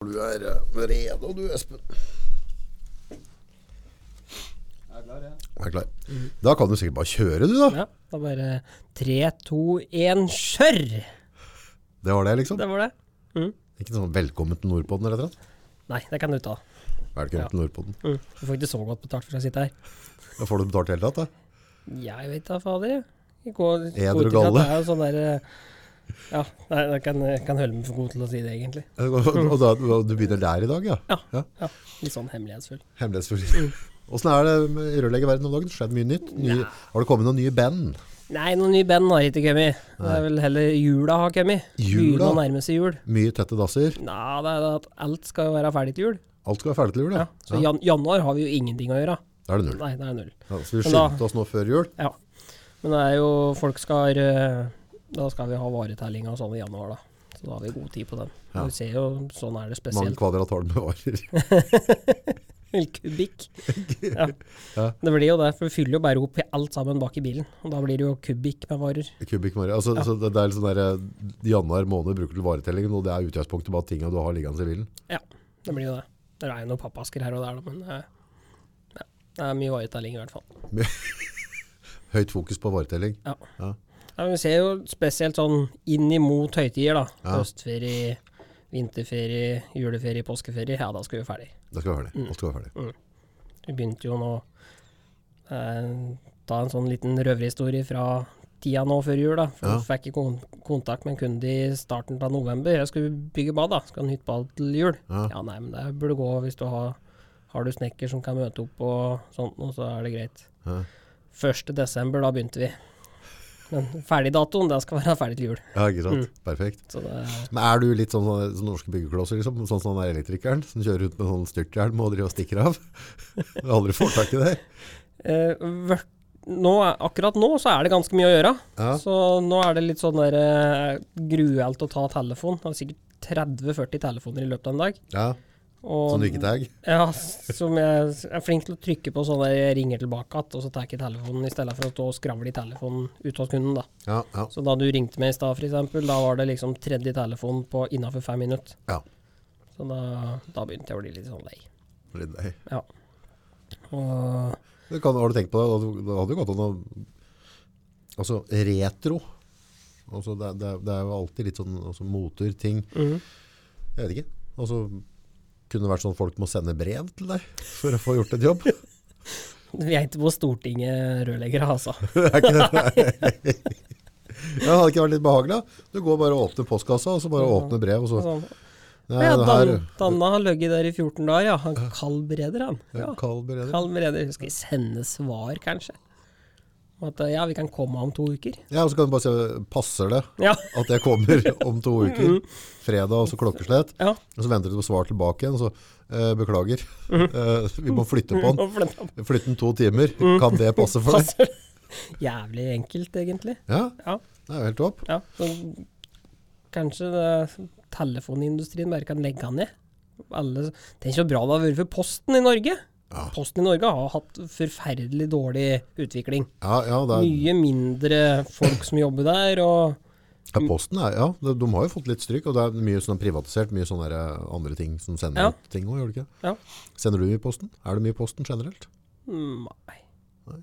du er eh, rede, du, Espen. Jeg er klar, jeg. Jeg er klar. Da kan du sikkert bare kjøre, du, da. Ja, da bare tre, to, én, kjør! Det var det, liksom. Det var det. Mm. Ikke sånn 'velkommen til Nordpolen' eller noe? Nei, det kan du ta. Velkommen Ja. til Nordpolen. Mm. Du får ikke så godt betalt for å sitte her. Da får du betalt i det hele tatt, da. Jeg vet da, fader. Jeg går- Eder går og ut ifra at galle. Det er jo sånn der, eh, ja, nei, jeg kan, jeg kan holde meg for god til å si det, egentlig. Og, og da, og du begynner der i dag, ja? Ja. ja. Ja, Litt sånn hemmelighetsfull. Mm. Hemmelighetsfull. Åssen er det med i rørleggerverdenen om dagen? Skjedd mye nytt? Nye, har det kommet noen nye band? Nei, noen nye band har ikke kommet. Det er vel heller jula har kommet. Jula? Begynner å nærme seg jul. Mye tette dasser? Nei, det er det at alt skal jo være ferdig til jul. Alt skal være ferdig til jul, Ja. ja. Så jan januar har vi jo ingenting å gjøre. Da er det null. Nei, det er null. Ja, så vi Men da- skyndte oss nå før jul. Ja. Men det er jo Folk skal eh, Da skal vi ha varetellinga og sånn i januar, da. Så da har vi god tid på den. Ja. Du ser jo, sånn er det Mange spesielt. kvadrat har den med varer. Kubikk. Ja. Ja. Det blir jo det. For vi fyller jo bare opp i alt sammen bak i bilen. Og da blir det jo kubikk med varer. Kubikk varer. Altså, så det, det er litt sånn der, eh, januar måned bruker du til varetellingen, og det er utgangspunktet bare tinga du har liggende i bilen. Ja, det blir jo det. Det er jo noen pappasker her og der, da, men eh, ja. det er mye varetelling i hvert fall. Høyt fokus på varetelling. Ja. Ja. Ja, vi ser jo spesielt sånn inn imot høytider, da. Ja. Høstferie, vinterferie, juleferie, påskeferie. Ja, da skal vi være ferdig. Det skal være ferdig. Alt skal være ferdig. Vi begynte jo nå eh, ta en sånn liten røverhistorie fra tida nå før jul, da. For Ja. vi fikk i kon kontakt med en kunde i starten av november. Jeg skulle bygge bad, da. Skal ha nytt bad til jul. Ja. Ja, nei, men det burde gå hvis du har Har du snekker som kan møte opp og sånt noe, så er det greit. Ja. 1. desember, da begynte vi. Men ferdigdatoen, det skal være ferdig til jul. Ja, ikke sant. Perfekt. Så det Men er du litt sånn sånn sånn norske byggeklosser, liksom? Sånn som han der elektrikeren som kjører rundt med sånn styrthjelm og driver og stikker av? Du aldri får tak i det? eh, vørt- nå er, akkurat nå så er det ganske mye å gjøre. Ja. Så nå er det litt sånn der eh, gruelt å ta telefon. Det er sikkert 30-40 telefoner i løpet av en dag. Ja, Og, sånn rykketag. Ja, som jeg er flink til å trykke på sånn der jeg ringer tilbake igjen, og så tar jeg ikke telefonen i stedet for å stå og skravle i telefonen ute hos kunden, da. Ja, ja, Så da du ringte meg i stad, f.eks., da var det liksom tredje telefon på innafor fem minutter. ja. Så da, da begynte jeg å bli litt sånn lei. Litt lei. Ja. Og Det kan, har du tenkt på det? Da- Da hadde jo gått an å Altså, retro. Altså, det, er- det, er- det er jo alltid litt sånn altså, moter, ting. Mhm. Jeg vet ikke. Altså, kunne det vært sånn at folk må sende brev til deg for å få gjort et jobb? vi er ikke på Stortinget rørleggere, altså. er ikke det? Ja, hadde ikke vært litt behagelig? da? Du går bare og åpner postkassa, og så bare åpner brev, og så Sånn. Nei, Ja, det Dan, her Danna har ligget der i 14 dager, ja. Han kald bereder, han. Ja, ja, Karl Bereder. kald bereder. Skal vi sende svar, kanskje? Om At eh, ja, vi kan komme om to uker. Ja, og så kan du bare se Passer det Ja. at jeg kommer om to uker? Fredag, og så klokkeslett? ja. Og så venter du på svar tilbake igjen, og så eh, beklager. Eh, vi må flytte på den. Og for den- Flytte den to timer. Kan det passe for deg? Passer det? Jævlig enkelt, egentlig. Ja, Ja. det er jo helt topp. ja. Så, kanskje det, telefonindustrien bare kan legge han ned. Alle, tenk så bra det har vært for Posten i Norge. Ja. Posten i Norge har hatt forferdelig dårlig utvikling. Ja, ja, det er, Mye mindre folk som jobber der, og ja posten er Ja, de, de har jo fått litt stryk, og det er mye sånn privatisert, mye sånne der, eh, andre ting som sender Ja. ut ting òg, gjør det ikke? Ja. Sender du mye i posten? Er det mye i posten generelt? Nei.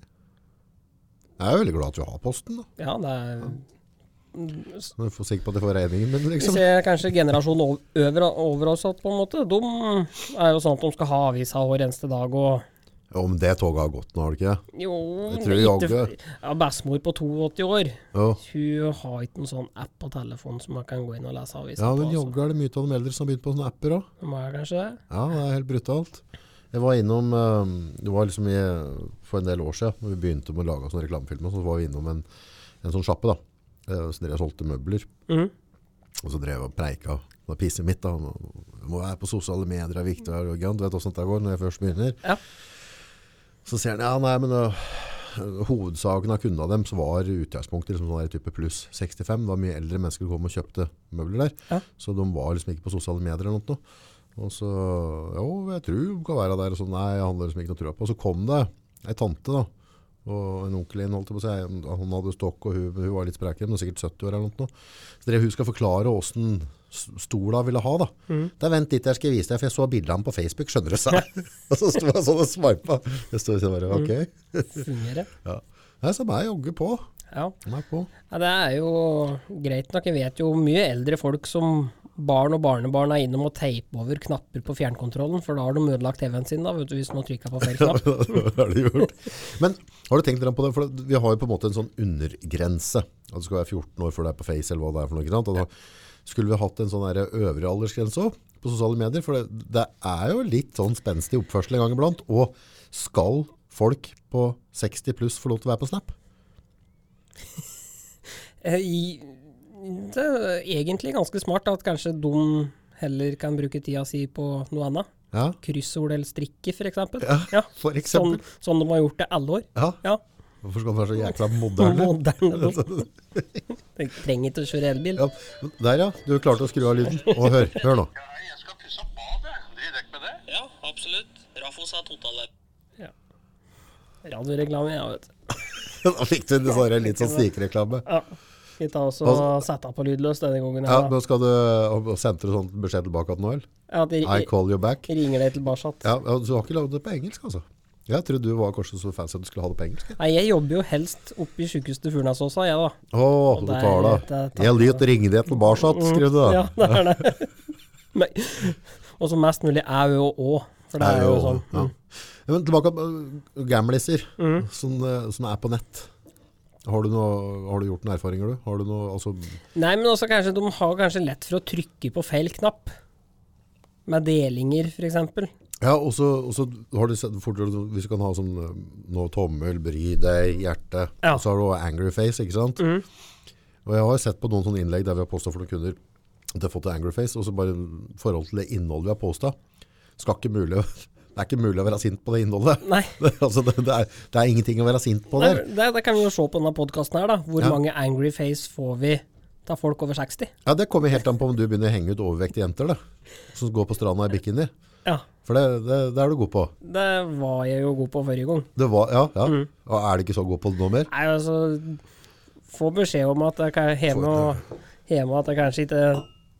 Jeg er jo veldig glad at du har posten, da. Ja, det er Så jeg er sikker på at jeg får regningen min, Vi liksom. ser kanskje generasjonen ov- over, over oss at på en måte. De er jo sånn at de skal ha avisa hver eneste dag og Ja, men det toget har gått nå, har det ikke? Jo, Jeg det tror er ikke- jaggu- ja, Bestemor på 82 år, Ja. hun har ikke en sånn app på telefonen som man kan gå inn og lese avisa Ja, på. men altså. jaggu er det mye av de eldre som har begynt på sånne apper òg. De er kanskje det. Ja, det er helt brutalt. Jeg var innom, eh, det var liksom i, for en del år siden, når vi begynte med å lage sånne reklamefilmer, så var vi innom en, en sånn sjappe da, eh, så drev jeg og solgte møbler, Mhm. og så drev jeg og preika, det var pisset mitt da, om å- om å være på sosiale medier, det er viktig, og arrogant, du vet hvordan det går når jeg først begynner. Ja. Så sier han, ja nei, men øh, hovedsaken av kundene dem, så var utgangspunktet liksom sånn der type pluss 65, det var mye eldre mennesker som kom og kjøpte møbler der, Ja. så de var liksom ikke på sosiale medier eller noe, og så, jo, jeg tror hun kan være der, og så nei, jeg handler liksom ikke noe trua på. Og så kom det ei tante da, og en onkel inn, holdt jeg på å si, han hadde stokk, og hun, hun var litt spreken, men sikkert 70 år eller noe. Så drev hun skal forklare hvordan s- stola ville ha. da. Mhm. Det er vent litt, jeg skal vise deg, for jeg så bildet av ham på Facebook, skjønner du seg. og så sto jeg sånn og sveipa. Jeg sto og sa bare, ok. Mhm. Fungerer. Nei, så må jeg jogge på. Ja. Meg på. ja, det er jo greit nok. Jeg vet jo mye eldre folk som barn og barnebarn er innom og teiper over knapper på fjernkontrollen, for da har de ødelagt TV-en sin, da, vet du, hvis man trykker på feil Ja, knapp. det har de gjort. Men har du tenkt dere på det? For vi har jo på en måte en sånn undergrense. At du skal være 14 år før du er på Face eller hva det er for noe. Ikke sant? Og da skulle vi hatt en sånn der øvre aldersgrense også på sosiale medier. For det, det er jo litt sånn spenstig oppførsel en gang iblant. Og skal folk på 60 pluss få lov til å være på Snap? Eh, I, det er egentlig ganske smart at kanskje de heller kan bruke tida si på noe annet. Ja, Kryssord eller strikke, f.eks. Ja, for sånn, eksempel. sånn de har gjort det alle år. Ja. Ja. Hvorfor skal man være så jækla moderne? Moderne. De trenger ikke å kjøre elbil. Ja, der ja, du klarte å skru av lyden. Og hør, hør nå. Ja, hei, jeg skal pusse opp badet. Driver dere med det? Ja, absolutt. Rafos er totale. Radioreklame, ja, vet du. Da fikk du dessverre litt sånn snikreklame. Ja. Vi tar også Altså- sette av på lydløs denne gangen. Ja, her, da. nå skal du, og sendte du sånn beskjed tilbake at nå, eller? Ja, at de I call you back. ringer deg tilbake. Ja, ja, du har ikke lagd det på engelsk, altså? Jeg trodde du var kanskje så fancy at du skulle ha det på engelsk. Nei, jeg jobber jo helst oppe i sjukehuset Furnasåsa, jeg, da. Å, Og du der tar det. vet jeg at- Jeg lyt ringe deg tilbake, skrev du da. Ja, det er det. Men- Og så mest mulig au og å. For det er jo sånn. Ja. Ja, Men tilbake til øh, gamliser, som, øh, som er på nett. Har du, noe, har du gjort noen erfaringer, du? Har du noe, altså, Nei, men også kanskje de har kanskje lett for å trykke på feil knapp. Med delinger, f.eks. ja, og så og så har du sett, fort, hvis du kan ha sånn øh, nå tommel, bry deg, hjerte, Ja. Mm. og så har du også angry face, ikke sant? Og jeg har sett på noen sånne innlegg der vi har postet for noen kunder at jeg har fått en angry face, og så bare i forhold til det innholdet vi har postet, skal ikke mulig, det er ikke mulig å være sint på det innholdet. Nei. Det, altså, det, det, er, det er ingenting å være sint på Nei, der. Det, det kan vi jo se på denne podkasten her, da. Hvor Ja. mange angry face får vi av folk over 60? Ja, det kommer helt an på om du begynner å henge ut overvektige jenter, da, som går på stranda i bikini. Ja. For det, det, det er du god på. Det var jeg jo god på forrige gang. Det var, ja, ja. Mm. Og er du ikke så god på det nå mer? Nei, altså Få beskjed om at jeg kan hjemme, og, hjemme at jeg kanskje ikke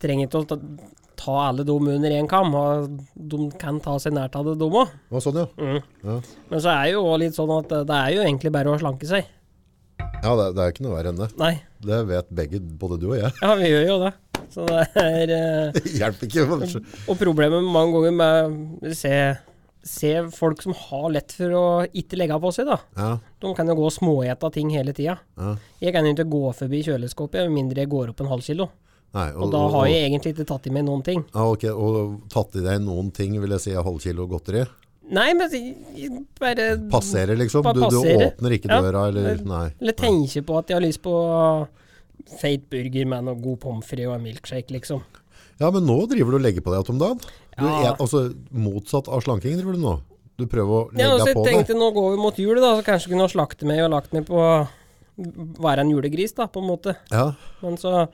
trenger ikke å ta- ta alle dem under én kam. Og de kan ta seg nært av det, de òg. Å, sånn, ja. Mm. Men så er jo også litt sånn at det er jo egentlig bare å slanke seg. Ja, det, det er ikke noe verre enn det. Nei, Det vet begge, både du og jeg. ja, vi gjør jo det. Så det er eh, Hjelper ikke, kanskje. Og problemet mange ganger med å se, se folk som har lett for å ikke legge på seg, da. Ja, De kan jo gå og småete ting hele tida. ja. Jeg kan jo ikke gå forbi kjøleskapet med mindre jeg går opp en halv kilo. Nei, Og da har jeg egentlig ikke tatt i meg noen ting. Ja, ok, og tatt i deg noen ting, vil jeg si, halv kilo godteri. Nei, men jeg- jeg bare Passerer liksom, Mm. Bare du, du passerer. åpner ikke Ja. døra, eller nei. Eller tenker på at jeg har lyst på feit burger med noe god pommes frites og en milkshake, liksom. Ja, men nå driver du og legger på deg, Tom Dan. Du, Ja. er, altså, motsatt av slanking driver du nå. Du prøver å legge Ja, og så deg jeg på tenkte det. nå går vi mot jul, da, så kanskje kunne jeg slakte meg og lagt meg på Være en julegris, da, på en måte. Ja, Men så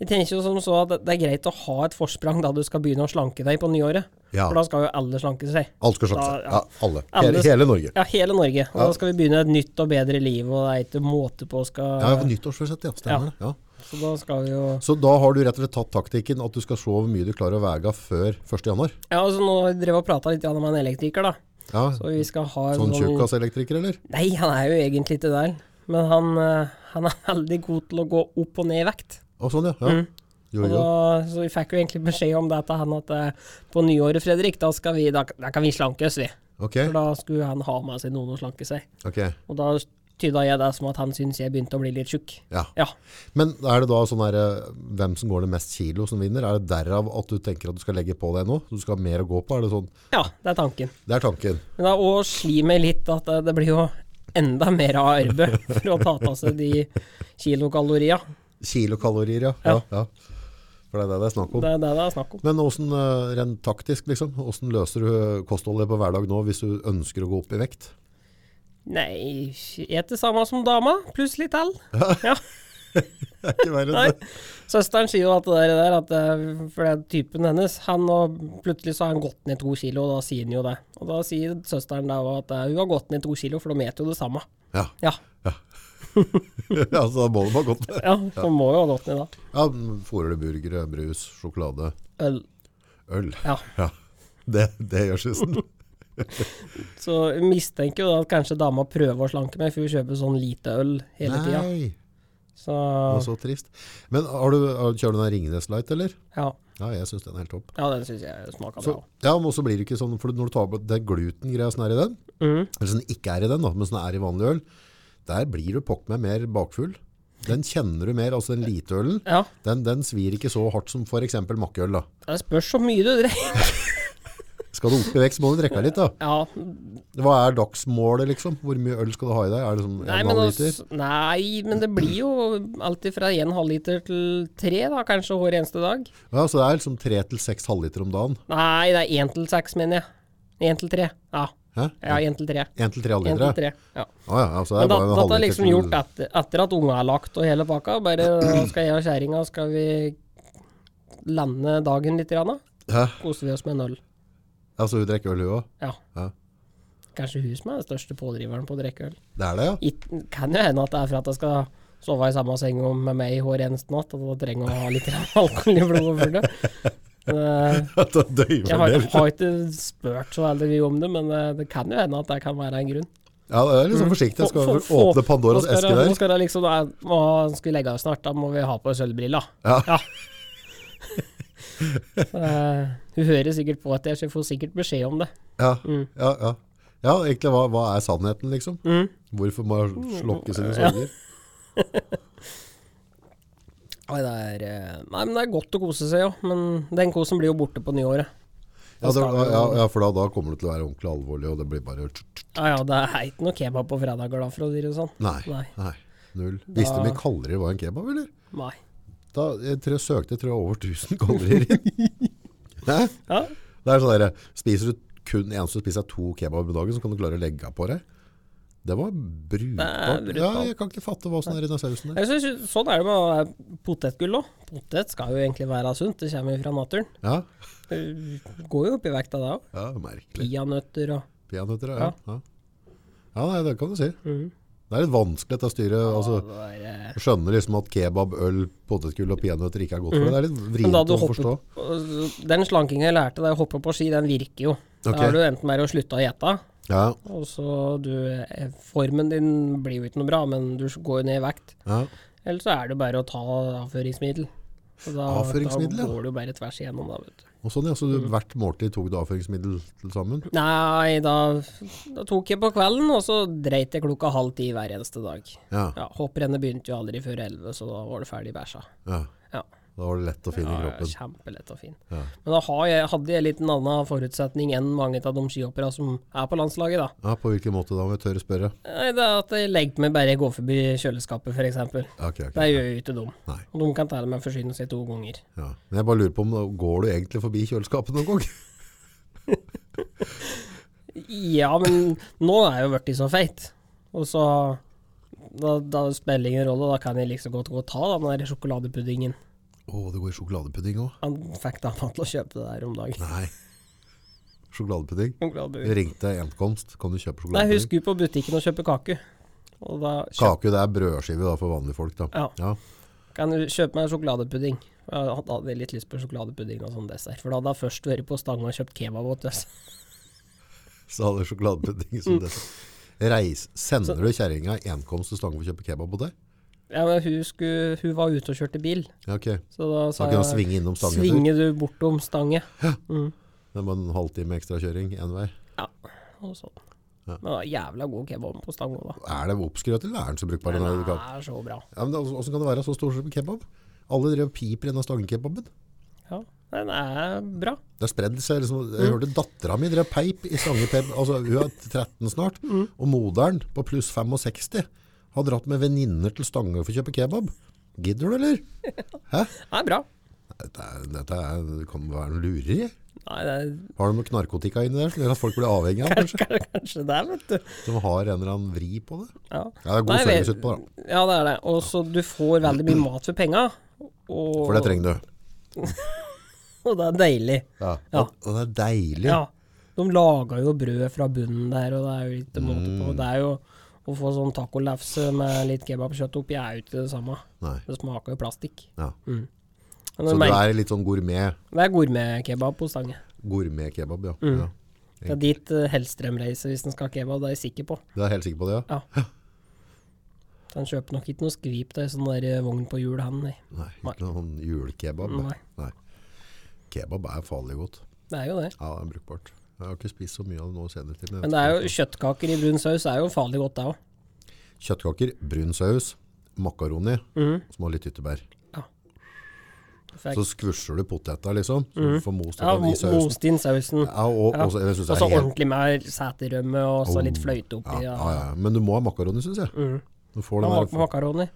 Jeg tenker jo som så at det- det er greit å ha et forsprang da du skal begynne å slanke deg på nyåret. Ja. For da skal jo alle slanke seg. alt skal slanke Da- seg. ja. Ja, alle. Alle- Hele, hele Norge. Ja, hele Norge. Og da skal vi begynne et nytt og bedre liv, og det er ikke måte på skal Ja, nyttårsforsett, ja. Stemmer det. Ja. Så da skal vi jo Så da har du rett og slett tatt taktikken at du skal se hvor mye du klarer å vege før 1. januar. Ja, altså nå drev jeg og prata litt grann med en elektriker, da. Ja, Så vi skal ha en sånn tjukkaselektriker, eller? Nei, han er jo egentlig ikke der. Men han, eh, han er veldig god til å gå opp og ned i vekt. Å, sånn, ja. ja. Jo, Og jo. da, så vi fikk jo egentlig beskjed om det til han at eh, på nyåret, Fredrik, da, skal vi, da, da kan vi slanke oss, vi. Ok, For da skulle han ha med seg noen å slanke seg. ok. Og da tyda jeg det som at han syntes jeg begynte å bli litt tjukk. Ja. Ja. Men er det da sånn her, eh, hvem som går det mest kilo som vinner? Er det derav at du tenker at du skal legge på deg nå? Du skal ha mer å gå på? Er det sånn? ja, det er tanken. Det er tanken. Men da, og sli meg litt at eh, det blir jo enda mer av arbeid for å ta av seg de kilokaloria. Kilokalorier, ja. ja. Ja. ja, For det er det det er snakk om. Det er det det er snakk om. Men hvordan, eh, rent taktisk, liksom, hvordan løser du eh, kostholdet på hverdag nå hvis du ønsker å gå opp i vekt? Nei, et det samme som dama, pluss litt til. Det er ikke verre Nei. enn det. Søsteren sier jo at det der, er at eh, for det er typen hennes, han og plutselig så har han gått ned to kilo, og da sier han jo det. Og da sier søsteren da også at eh, hun har gått ned to kilo, for de vet jo det samme. Ja. Ja. ja, så da må det være godt. Ja, så må jo ha gått ned, da. Ja, Fôrer du burgere, brus, sjokolade, Øl. øl? Ja. Det, det gjør susen. Så jeg mistenker jo da at kanskje dama prøver å slanke meg, for hun kjøper sånn lite øl hele tida. Nei, Så det var så trist. Men har du, har, kjører du den Ringnes Light, eller? ja, Ja, jeg syns den er helt topp. ja den syns jeg smaker Så, bra. ja, men også blir det ikke sånn, for når du tar på den glutengreia som er i den, Mm. eller som ikke er i den, da, men som er i vanlig øl, der blir du pokker meg mer bakfull. Den kjenner du mer, altså den lite ølen. Ja, Den, den svir ikke så hardt som for eksempel makkeøl, da. det spørs så mye du drikker. Skal du opp i vekt, så må du drikke litt, da. Ja, Hva er dagsmålet, liksom? Hvor mye øl skal du ha i deg? Er det sånn nei, en men halv altså- liter? nei, men det blir jo alltid fra en halvliter til tre, da, kanskje hver eneste dag. Ja, så det er liksom tre til seks halvliter om dagen. Nei, det er én til seks, mener jeg. Én til tre. Ja, Hæ? ja én til tre. En til tre En til halvlitere? tre. Ja. Å ja, altså det er Men bare en dette halvliter. har liksom til- gjort etter, etter at unga er lagt og hele pakka. Bare nå skal jeg og kjerringa skal vi lande dagen litt, grann, da. Hæ? koser vi oss med en øl. Altså hun drikker øl, hun òg? Ja. Ja. Kanskje hun som er den største pådriveren på å drikke øl. Det er det, ja? It- Kan jo hende at det er for at jeg skal sove i samme seng om- med meg hver eneste natt, at jeg trenger å ha litt grann alkohol i blodet for det. Men, eh, At hun døyver Jeg har, det litt. har ikke spurt så veldig mye om det, men eh, det kan jo hende at det kan være en grunn. Ja, det er liksom forsiktig. Jeg skal åpne Pandoras Nå skal eske det- der. Nå skal det liksom, da, må, skal vi legge oss snart, da må vi ha på sølvbriller. Ja. Eh, hun hører sikkert på at jeg så jeg får sikkert beskjed om det. Ja, ja, ja. ja egentlig, hva, hva er sannheten, liksom? Hvorfor må jeg slokke sine sorger? Nei, det er, eh, nei, men det er godt å kose seg, jo. Men den kosen blir jo borte på nyåret. Ja, det, skal det jo- Altså, ja, ja for da, da kommer det til å være ordentlig alvorlig, og det blir bare tsk, tsk. Ja ja, det er ikke noe kebab på fredag, glad for å si det sånn. Nei. Nei. nei. Null. Visste du mye kaldere var en kebab, eller? Nei. Da, jeg tror jeg søkte tror jeg over 1000 kalorier inn. Hæ? Ja, Det er sånn der, spiser du kun en som spiser to kebaber om dagen, så kan du klare å legge av på deg. Det var brukbart. Det er brutalt. Ja, jeg kan ikke fatte hva som er i den sausen der. jeg synes, Sånn er det med eh, potetgull òg. Potet skal jo egentlig være sunt, det kommer jo fra naturen. Ja, Det går jo opp i vekta, det òg. ja merkelig. Peanøtter og Peanøtter, ja. ja. Ja, nei, det kan du si. Det er litt vanskelig å styre, altså, Mhm. det var, eh, å skjønne liksom at kebab, øl, potetgull og peanøtter ikke er godt for deg. Det er litt Mhm. Men da vrient du å forstå. hopper Den slankinga jeg lærte deg å hoppe på ski, den virker jo. Da Ok. har du enten bare å slutte å gjete, Ja, og så du eh, Formen din blir jo ikke noe bra, men du går jo ned i vekt. ja. Eller så er det bare å ta avføringsmiddel. Så Da, Avføringsmiddel, ja. da går du bare tvers igjennom, da, vet du. Og sånn, ja, så Mhm. du, hvert måltid tok du avføringsmiddel til sammen? Nei, da, da tok jeg på kvelden, og så dreit jeg klokka halv ti hver eneste dag. Ja, Ja, Hopprennet begynte jo aldri før elleve, så da var det ferdig bæsja. ja. Ja. Da var det lett å finne i Ja, kroppen. kjempelett og fin. Ja. Men da har jeg, hadde jeg litt en annen forutsetning enn mange av de skihopperne som er på landslaget, da. Ja, på hvilken måte da, om jeg tør å spørre? Nei, Det er at jeg legger meg bare gå forbi kjøleskapet, f.eks. Ja, ok, ok. Det gjør jo ikke de. Nei. Og de kan telle meg forsyne seg to ganger. Ja. Men jeg bare lurer på om går du egentlig forbi kjøleskapet noen gang? Ja, men nå er jeg jo blitt så feit. Og så da, da spiller ingen rolle, da kan jeg liksom godt gå og ta den der sjokoladepuddingen. Å, det går i sjokoladepudding òg? Han fikk dama til å kjøpe det der om dagen. Nei. Sjokoladepudding? Jeg Sjokoladepudding. ringte Entkomst. Kan du kjøpe Nei, hun sjokoladepudding? skulle på butikken og kjøpe kake. Og da kjøpte Kake, det er brødskive da, for vanlige folk. da. Ja. Ja. Kan du kjøpe meg sjokoladepudding? Jeg hadde hadde litt lyst på sjokoladepudding og sånn dessert. For da hadde jeg først vært på Stange og kjøpt kebab. vet du. Så hadde jeg sjokoladepudding Mm. som det. Reis. Sender du kjerringa Entkomst til Stange for å kjøpe kebab på deg? Ja, men hun, skulle, hun var ute og kjørte bil, Ja, ok. så da Så sa kan du jeg svinge innom Stange. en tur. Svinge du bortom Stange. Det er bare en halvtime ekstrakjøring én vei. Ja, og sånn. Men det var jævla god kebab på Stange òg, da. Er det oppskrøt, eller er den så brukbar? Den den her kaken? er så bra. Ja, men altså, Hvordan kan det være så stor som kebab? Alle driver og piper i denne Stange-kebaben. Ja, den er bra. Det har spredd seg. Liksom, jeg hørte dattera mi drev peip i Stangepeb. Altså, hun er 13 snart, og moderen på pluss 65 har dratt med venninner til Stange for å kjøpe kebab. Gidder du, eller? Hæ? Den er bra. Dette, er- dette er, det kan være noe lureri. Nei, det er Har de noe narkotika inni der som gjør at folk blir avhengige av kanskje? kanskje, kanskje det, vet du. De har en eller annen vri på det. Ja, Ja, det er god Nei, jeg service vet- utpå, da. Ja, det er det. Og så du får veldig mye mat for penga. Og, For det trenger du. og det er deilig. Ja. Ja. Og, og det er deilig. Mm. Ja. De laga jo brød fra bunnen der, og det er jo litt måte på. Det er jo Å få sånn tacolefse med litt kebabkjøtt oppi er jo ikke det samme. Nei. Det smaker jo plastikk. Ja. Men Så det du merker- er litt sånn gourmet, det er gourmetkebab på Stange. gourmet kebab, ja. ja. Det er dit eh, Hellstrøm reiser hvis en skal ha kebab, det er jeg sikker på. Du er helt sikker på det, ja? Så Han kjøper nok ikke noe skvip til ei sånn der eh, vogn på hjul, han. Nei. Nei, ikke noe sånn julekebab. Nei. Nei. Nei. Kebab er farlig godt. Det er jo det. Ja, det er brukbart. Jeg har ikke spist så mye av det nå senere tid. Men det er jo kjøttkaker i brun saus er jo farlig godt, det òg. Kjøttkaker, brun saus, makaroni, Mhm. som har litt yttebær. Perfekt. Så skvurser du poteta, liksom. Så du får most Mhm. Ja, ja, i mo- sausen. most inn sausen. Ja, og, Ja. og så, jeg Og synes det så er helt... Oh, ordentlig med seterømme og så litt fløyte Ja, oppi. ja, Ja, Mhm. ja. Men du må ha makaroni, synes jeg. Du får Da den mak der... makaroni.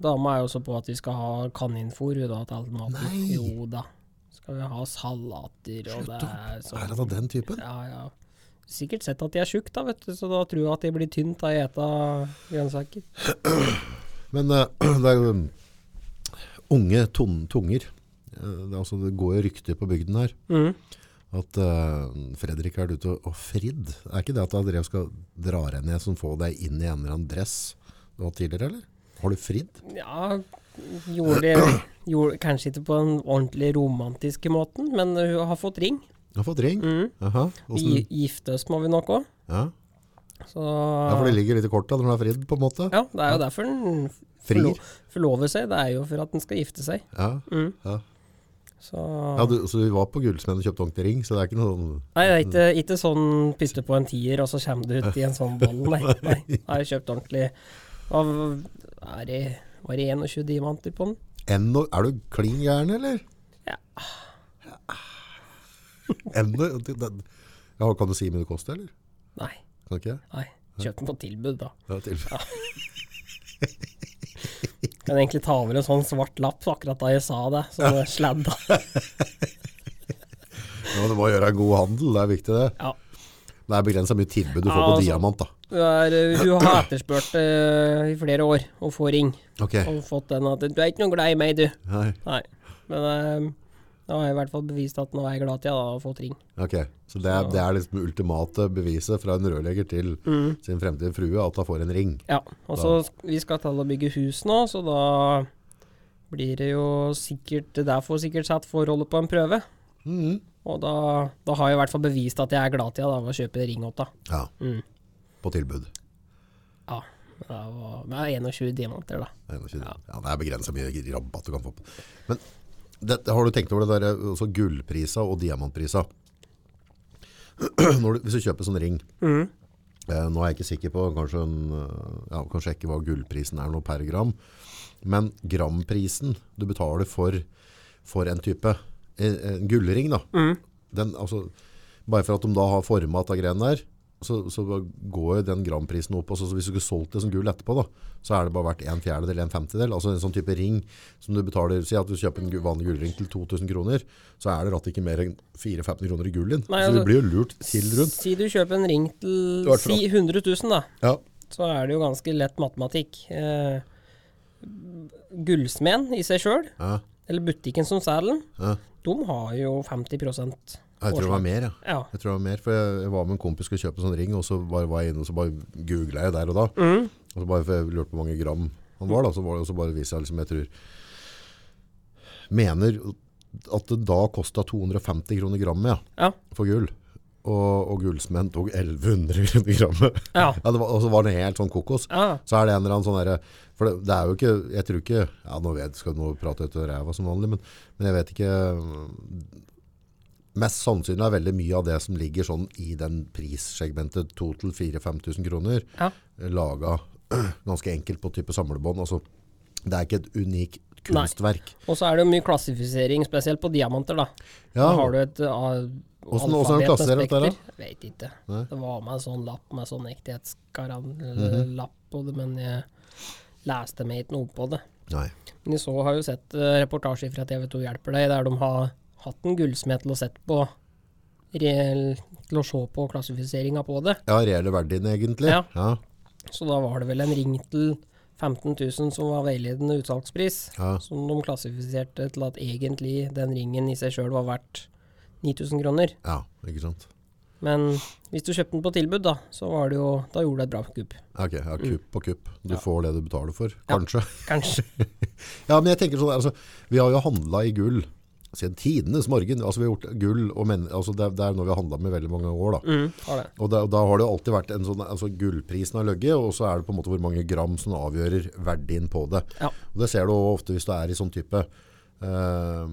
Dama er jo også på at vi skal ha kaninfôr da, til all maten. Nei. Jo da. Skal vi ha salater og det er Er sånn. det av den typen? Ja, ja. Sikkert sett at de er tjukke, da, vet du, så da tror jeg at de blir tynt av å ete grønnsaker. Men eh, det er jo um, unge ton tunger. Eh, det, er altså, det går jo rykter på bygden her. Mm. At eh, Fredrik er ute og, og fridd. Er ikke det at Andreas skal dra deg ned som få deg inn i en eller annen dress du har tidligere, eller? Har du fridd? Ja, gjorde det gjorde, Kanskje ikke på den ordentlig romantiske måten, men hun har fått ring. Du har fått ring? Aha. Mm. Vi Hvordan, giftes må vi nok òg, ja. så ja, for det ligger litt i kortet når du er fridd, på en måte. Ja, det er jo derfor den Frir. forlo- forlover seg. Det er jo for at den skal gifte seg. Ja. Mm. Ja. Så Ja, du, så du var på gullsmeden og kjøpte ordentlig ring, så det er ikke noe sånn... Nei, det er ikke, ikke sånn piste på en tier, og så kommer du ut i en sånn ball. Nei, nei. Jeg har kjøpt ordentlig Av, er det, Var det 21 diamanter på den? Ennå, er du klin gæren, eller? Ja. Ennå, det- det- ja, kan du si hvor mye det koster, eller? Nei. Kan du ikke? nei. Kjøpt den på tilbud, da. Ja, til. Kan egentlig ta over en sånn svart lapp akkurat da jeg sa det. Så det sladda. Ja, du må gjøre en god handel, det er viktig det. Ja. Det er begrenset mye tilbud du får Ja, på altså- diamant, da. Hun er- eh, hun har etterspurt det i flere år, å få ring. Ok, Og fått den at 'Du er ikke noe glad i meg, du'. Nei. Nei. Men eh, nå har jeg i hvert fall bevist at nå er jeg glad at jeg da har fått ring. ok. Så det er, det er liksom det ultimate beviset fra en rørlegger til Mm. sin fremtidige frue, at han får en ring. Ja. Og så sk- vi skal til å bygge hus nå, så da blir det jo sikkert Det der får sikkert satt forholdet på en prøve. Og da, da har jeg i hvert fall bevist at jeg er glad til jeg da ved å kjøpe ring åt da. Ja, Mm. på tilbud. Ja. Det var, det er 21 diamanter, da. Det er ikke- Ja, det er begrenset mye rabatt du kan få på. Men det, har du tenkt over det der, altså gullprisa og diamantprisa? Når du, hvis du kjøper sånn ring, eh, nå er jeg ikke sikker på, kanskje, en, eh, ja, kanskje jeg ikke hva gullprisen er nå per gram, men gramprisen du betaler for, for en type, en, en gullring da, den, altså, bare for at de da har format av greiene der, så, så går jo den gramprisen opp. Altså, så hvis du ikke solgte det som gull etterpå, da, så er det bare verdt en fjerdedel, en femtedel. Altså en sånn type ring som du betaler, si at du kjøper en gu- vanlig gullring til 2000 kroner, så er det rett ikke mer enn 4-15 kroner i gullen. Nei, så du altså- blir jo lurt til rundt. Si du kjøper en ring til Du har si 100 000, da. Ja, så er det jo ganske lett matematikk. Eh, Gullsmeden i seg sjøl, Ja. eller butikken som selger den, Ja. de har jo 50 jeg tror det var påslag. mer, ja. Ja. Jeg tror det var mer, for jeg jeg var med en kompis og skulle kjøpe en sånn ring, og så bare var jeg inne og så bare googlet jeg der og da. Og så bare for jeg lurte på hvor mange gram han var da, så var det, og så bare viser jeg liksom, jeg tror, mener at det da kostet 250 kroner grammet, ja, Ja. for gull. Og, og gullsmenn tok 1100 kroner grammet. Ja. det var, og så var det helt sånn kokos. ja. Så er det en eller annen sånn derre For det, det er jo ikke Jeg tror ikke Ja, nå vet, skal nå prate etter ræva som vanlig, men, men jeg vet ikke mm, Mest sannsynlig er veldig mye av det som ligger sånn i den prissegmentet 2000-4000-5000 kroner, Ja. laga ganske enkelt på type samlebånd. Altså, det er ikke et unikt kunstverk. Og så er det jo mye klassifisering, spesielt på diamanter, da. Ja, Da har du et uh, Hvordan- hvordan er det klassifisert dette her, da? Veit ikke. Det var med en sånn lapp med sånn Mhm. ektighetsgarantlapp på det, men jeg leste meg ikke noe på det. Nei. Men jeg så har jo sett eh, reportasjer fra TV 2 Hjelper deg, der de har hatt en gullsmed til å sette på reell, til å se på klassifiseringa på det. Ja, reelle verdien, egentlig. Ja. Ja. Så da var det vel en ring til 15 000 som var veiledende utsalgspris, Ja. som de klassifiserte til at egentlig den ringen i seg sjøl var verdt 9000 kroner. ja, ikke sant. Men hvis du kjøpte den på tilbud, da, så var det jo Da gjorde du et bra kupp. Ok, ja, kupp på kupp. Du får det du betaler for, kanskje. Kanskje. Ja, men jeg tenker sånn, altså, vi har jo handlet i gull siden tidenes morgen. Altså, vi har gjort gull, og men, altså, det, er- det er noe vi har handlet med veldig mange år, da. Mm, har det. Og da, da har det jo alltid vært en sånn, altså gullprisen har løgget, og så er det på en måte hvor mange gram som avgjører verdien på det. Ja. Og det ser du jo ofte hvis du er i sånn type, eh,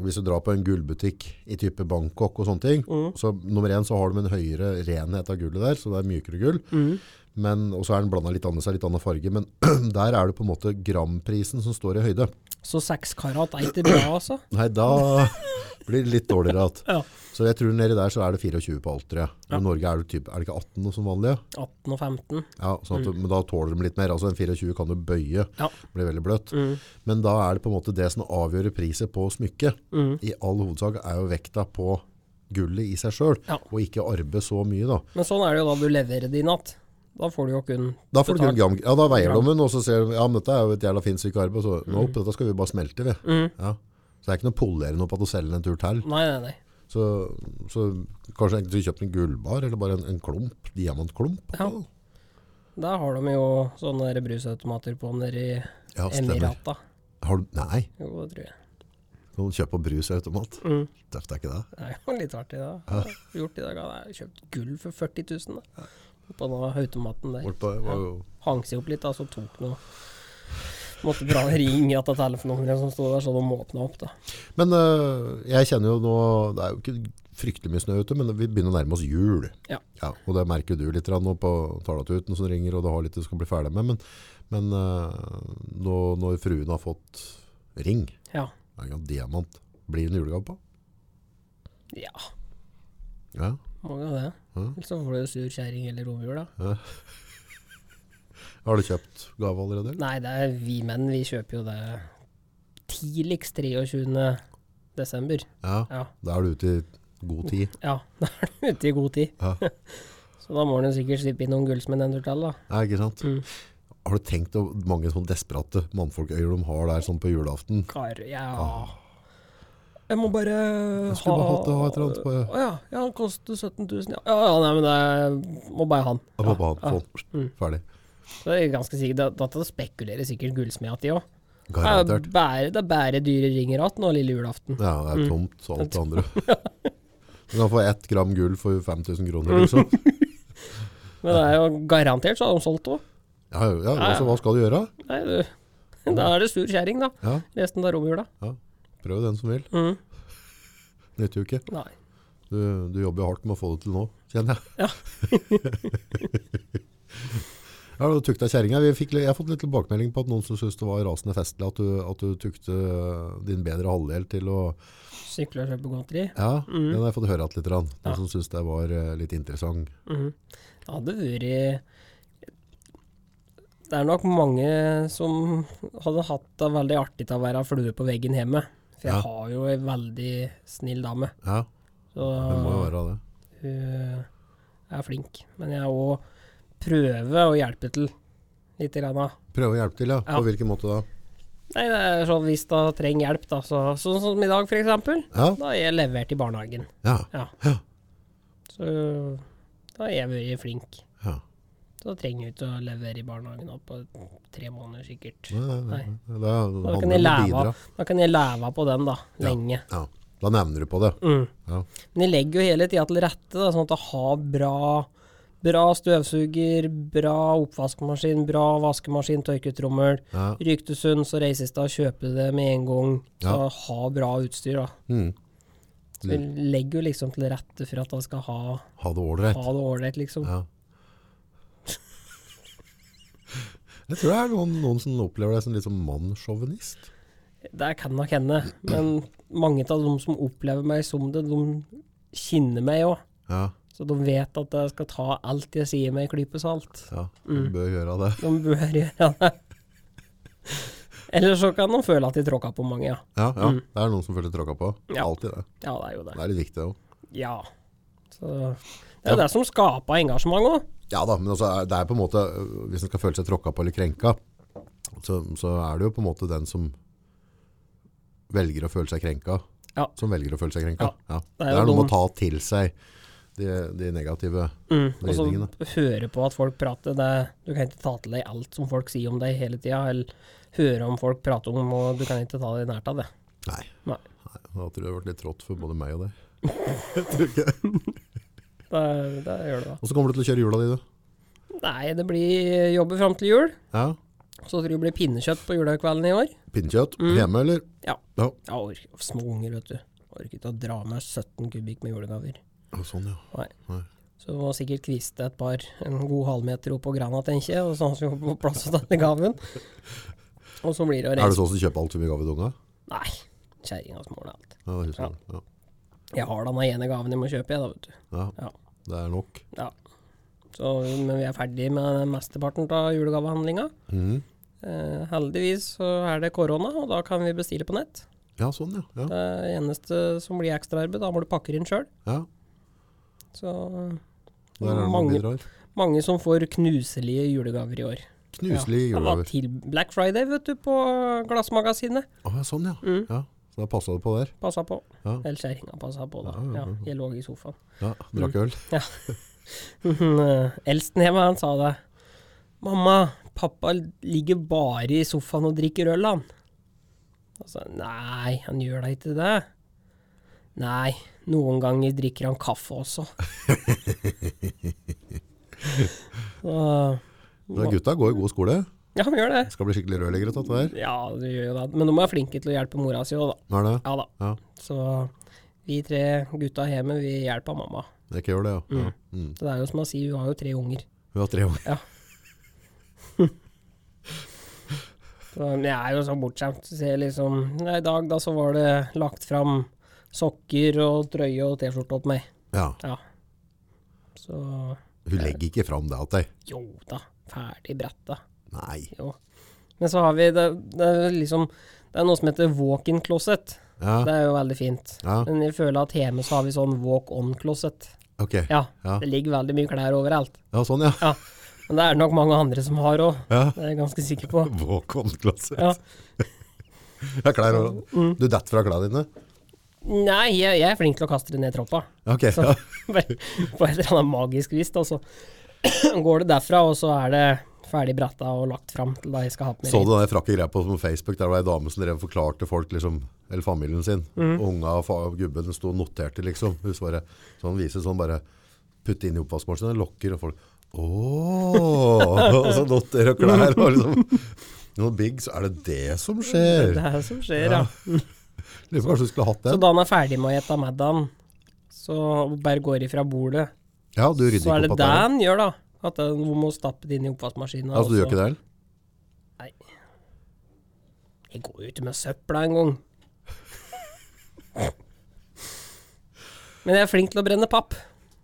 hvis du drar på en gullbutikk i type Bangkok og sånne ting, så nummer en så har de en høyere renhet av gullet der, så det er mykere gull. Men, og så er den blandet litt annet seg, litt annen farge, men der er det på en måte gramprisen som står i høyde. Så seks karat er ikke bra, altså. Nei, da blir det litt dårligere at. Ja. Så jeg tror nede der så er det 24 på alt, tror jeg. I Norge er det, typ, er det ikke 18 noe som vanlig, ja? 18 og 15. Ja, sånn at, Men da tåler de litt mer. Altså En 24 kan du bøye, Mm. Ja. Mm. blir veldig bløtt. Men da er det på en måte det som avgjør priset på smykket. Mm. I all hovedsak er jo vekta på gullet i seg sjøl, Ja. og ikke arbeid så mye. Da Men sånn er det jo da du leverer det i natt. Da får du jo kun Da får du kun betalt. gram, ja, da veier de den, og så ser du ja, men dette er jo et jævla fint stykke arbeid. Så Mm. nope, dette skal vi bare smelte, vi. Ja. Så det er ikke noe pollerende opp at du selger den en tur til. Nei, nei, nei. Så, så kanskje du kjøper en gullbar, eller bare en, en klump, diamantklump. Ja. Der har de jo sånne der brusautomater på nede i Ja, stemmer. Emirata. Har du, nei, Jo, det tror jeg. kan du kjøpe på brusautomat? Mm. Tøft er ikke det? Det er jo litt artig, da. Jeg har Gjort i dag, da. Jeg har kjøpt gull for 40 000 da. på den automaten der. Bort på, var jo Hang seg opp litt, da, så tok noe Måtte dra en ring i at det telefonnummeret som sto der, så de åpna opp, da. Men øh, jeg kjenner jo nå Det er jo ikke fryktelig mye snø ute, men vi begynner å nærme oss jul. Ja. og det merker jo du litt grann nå på talatuten som ringer, og du har litt du skal bli ferdig med. Men, men øh, nå, når fruen har fått ring, Ja. er det en diamant, blir det en julegave på? ja. Ja. Må jo det. Mm. Ellers så får du sur kjerring eller romjul, da. Har du kjøpt gave allerede? eller? Nei, det er vi menn. Vi kjøper jo det tidligst 23. desember. Ja. Ja. Da er du ute i god tid. ja. Da er du ute i god tid. Ja. Så da må du sikkert slippe inn noen gullsmenn en tur til, da. Ja, ikke sant? Mm. Har du tenkt på mange sånn desperate mannfolkøyer de har der sånn på julaften? Kar, ja. Jeg må bare skulle bare hatt det, ha et eller annet på- Å ja, ja, han koster 17 000, ja. Ja, ja nei, men det må bare ha han. Ja, pappa, han, sånn, ferdig. Så det er ganske sikkert, da, da spekulerer sikkert gullsmeda at de òg. Det er Garantert. bare- det er bare dyre ringer igjen nå lille julaften. Ja, Mm. det er tomt og alt det andre. Du kan få ett gram gull for 5000 kroner, liksom. Men det er jo garantert så har de solgt òg. Ja, ja, altså, hva skal du gjøre? Nei, du. Da er det sur kjerring, da. Ja, Resten av romjula. ja. Prøv den som vil. Mhm. Nytter jo ikke. Nei. Du, du jobber jo hardt med å få det til nå, kjenner jeg. Ja. Ja, du tukta kjerringa. Vi fikk li- Jeg har fått litt tilbakemelding på at noen som syntes det var rasende festlig at du, at du tukte eh, din bedre halvdel til å Sykle og kjøpe godteri. Ja, den har jeg fått høre at litt. grann. Noen Ja. som syntes det var eh, litt interessant. Det hadde vært Det er nok mange som hadde hatt det veldig artig til å være flue på veggen hjemme. For jeg Ja. har jo ei veldig snill dame. Ja, Så det må jo være det. hun eh, er flink. Men jeg òg prøver å hjelpe til lite grann. da. Prøve å hjelpe til, ja. På Ja. hvilken måte da? Nei, det er sånn hvis hun trenger hjelp, da. Så, sånn som i dag, for eksempel. Ja, Da er jeg levert i barnehagen. ja, Ja. Ja. Så da har jeg vært flink. ja. Da trenger vi ikke å levere i barnehagen da på tre måneder sikkert. Nei, nei, nei. Nei. Det handler Da om kan, jeg å leve, bidra. av- da kan jeg leve av på den da, Ja. lenge. Ja, da nevner du på det. Mm. Ja. Men jeg legger jo hele tida til rette, da, sånn at jeg har bra, bra støvsuger, bra oppvaskmaskin, bra vaskemaskin, tørketrommel. Ja. Ryktesund, så reises det og kjøper det med en gang. Så Ja. ha bra utstyr, da. Mm. Så jeg legger jo liksom til rette for at jeg skal ha, Ha det ålreit. ha det ålreit, liksom. Ja. Jeg tror det er noen, noen som opplever deg som litt sånn mannssjåvinist. Det kan nok hende, men mange av de som opplever meg som det, de kjenner meg òg. Ja, Så de vet at jeg skal ta alt jeg sier med en klype salt. ja. Du Mm. bør gjøre det. De bør gjøre det. Eller så kan de føle at de tråkka på mange, ja. Ja, ja. Det er noen som føler tråkka på. Mm. Ja. Alltid det. Ja, det er jo det. Det er litt viktig òg. Ja. Så det er jo det som skaper engasjement òg. Ja da, men altså, er- det er på en måte øh, Hvis en skal føle seg tråkka på eller krenka, så, så er det jo på en måte den som velger å føle seg krenka, Ja. som velger å føle seg krenka. Ja. Det Det er er, jo noe med dum- å ta til seg de, de negative Mm. Og så vridningene. høre på at folk prater. Det, du kan ikke ta til deg alt som folk sier om deg hele tida, eller høre om folk prater om, og du kan ikke ta det nært av det. Nei. Nei. Nei, Da tror jeg det har vært litt trått for både meg og deg. Jeg tror ikke det. Det, det gjør det da. Og så kommer du til å kjøre hjula di, du. Nei, det blir jobbe fram til jul. Ja. Så tror jeg det blir pinnekjøtt på julekvelden i år. Pinnekjøtt hjemme, eller? Ja. ja. Ja, ork, små unger, vet du. Orker ikke å dra med 17 kubikk med julegaver. Å, Sånn, ja. Så må sikkert kviste et par, en god halvmeter opp på grana, tenker jeg, og så har vi på plass til denne gaven. Og så blir det å Er det reise. sånn som kjøper alt for mye gave til unga? Nei, kjerringa småler alt. Ja, det husker jeg. Ja. Jeg har den ene gaven jeg må kjøpe, jeg da, vet du. Ja. Ja. Det er nok. Ja. Så, men vi er ferdig med mesteparten av julegavehandlinga. Mhm. Eh, heldigvis så er det korona, og da kan vi bestille på nett. Ja, sånn, ja. ja. Det eneste som blir ekstraarbeid, da må du pakke det inn sjøl. ja. Så Der er det noen mange, bidrar. mange som får knuselige julegaver i år. Knuselige Ja, det var julegaver. til Black Friday, vet du, på Glassmagasinet. Å, ja, sånn, ja. Mm. ja. Så da passa det på der. Passa på. Ja. Eller kjerringa passa på, da. Ja, ja, Ja, ja, ja. jeg lå i sofaen. ja. Drakk Mm. øl. Mhm, eh, Eldsten hjemme, han sa det. Mamma, pappa ligger bare i sofaen og drikker øl, han. Og så, nei, han gjør da ikke det. Nei, noen ganger drikker han kaffe også. så, Så Gutta går i god skole. ja, han gjør det. Skal bli skikkelig rørleggere av dette her. Ja, du gjør jo det. Men de er flinke til å hjelpe mora si òg, da. Hva er det? Ja da. Ja. Så vi tre gutta hjemme, vi hjelper mamma. Det ikke gjør det, ja. ja. Mm. Så det er jo som han sier, hun har jo tre unger. Hun har tre unger. Ja. så, men jeg er jo så bortskjemt. Så ser jeg liksom Nei, I dag da så var det lagt fram sokker og trøye og T-skjorte opp meg. Ja. Ja. Så Hun legger ikke fram det til deg. jo da. Ferdig bretta. Nei. Jo. Men så har vi det, det er liksom Det er noe som heter walk-in closet. Ja. Det er jo veldig fint. Ja. Men jeg føler at hjemme så har vi sånn walk-on closet. Ok. Ja, Ja, Det ligger veldig mye klær overalt. sånn, ja. Ja. Men det er det nok mange andre som har òg. Ja. Det er jeg ganske sikker på. Walk-on-klasse. Ja. Mm. Ja, klær og- Du detter fra klærne dine? Nei, jeg, jeg er flink til å kaste det ned i troppa. Ok, Sånn. ja. Bare På et eller annet magisk vis. Da, så går det derfra, og så er det ferdig bratta og lagt fram til da jeg skal ha på meg. Så du den der frakke greia på Facebook, der var ei dame som drev og forklarte folk, liksom, eller familien sin, Mm. unga og fa- gubben sto og noterte, liksom. Hun svarer, så han viser sånn bare, putte inn i oppvaskmaskinen, lokker, og folk, åh, og så noterer og klær, og liksom, noen big, så er det det som Det skjer. er det som skjer, ja. Liksom, kanskje du skulle hatt Så den? da han er ferdig med å ete middagen, så og bare går ifra bordet, Ja, du rydder så er ikke det opp det at det. han gjør, da. At han må stappe det inn i oppvaskmaskinen. Altså, du gjør ikke det? eller? Nei. Jeg går jo ikke med søpla engang. Men jeg er flink til å brenne papp.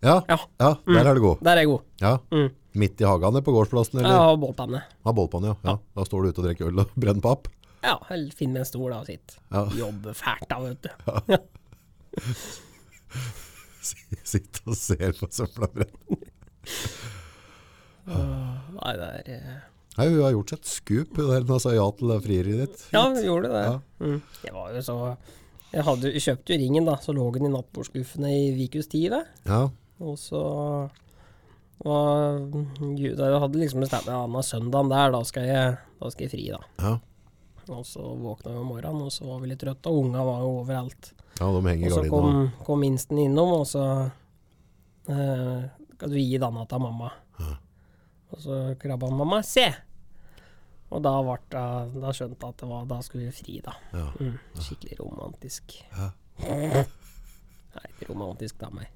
Ja, Ja. ja, der er det god. Der er jeg god. Ja, Mm. midt i hagene på gårdsplassen, Jeg eller? har bålpanne. Ja, bålpanne, ja. ja. Da står du ute og drekker øl og brenner papp. Ja, eller finn meg en stol da og sitt. Ja. Jobbe fælt da, vet du. Sitt og ser på søppelbrenn. Nei, det er eh, Nei, hun har gjort seg et skup hun der hun har sagt ja til det frieriet ditt. Ja, vi gjorde det. Mm. Jeg var jo så Jeg hadde, jeg kjøpte jo ringen, da, så lå den i nattbordskuffene i Vikus 10, det. Ja, Og så var Jeg hadde liksom bestemt meg ja, nå er søndagen der, da skal jeg, da skal jeg fri, da. ja. Og så våkna vi om morgenen, og så var vi litt trøtte, og unga var jo overalt. ja de henger i Og så gardina. kom, kom Insten innom, og så eh, Skal du gi denne til mamma? Og så krabba han mamma. Se! Og da, ble, det- da skjønte jeg at det var, da skulle vi fri, da. Ja. Mm, skikkelig romantisk. Nei, ikke romantisk da, meg.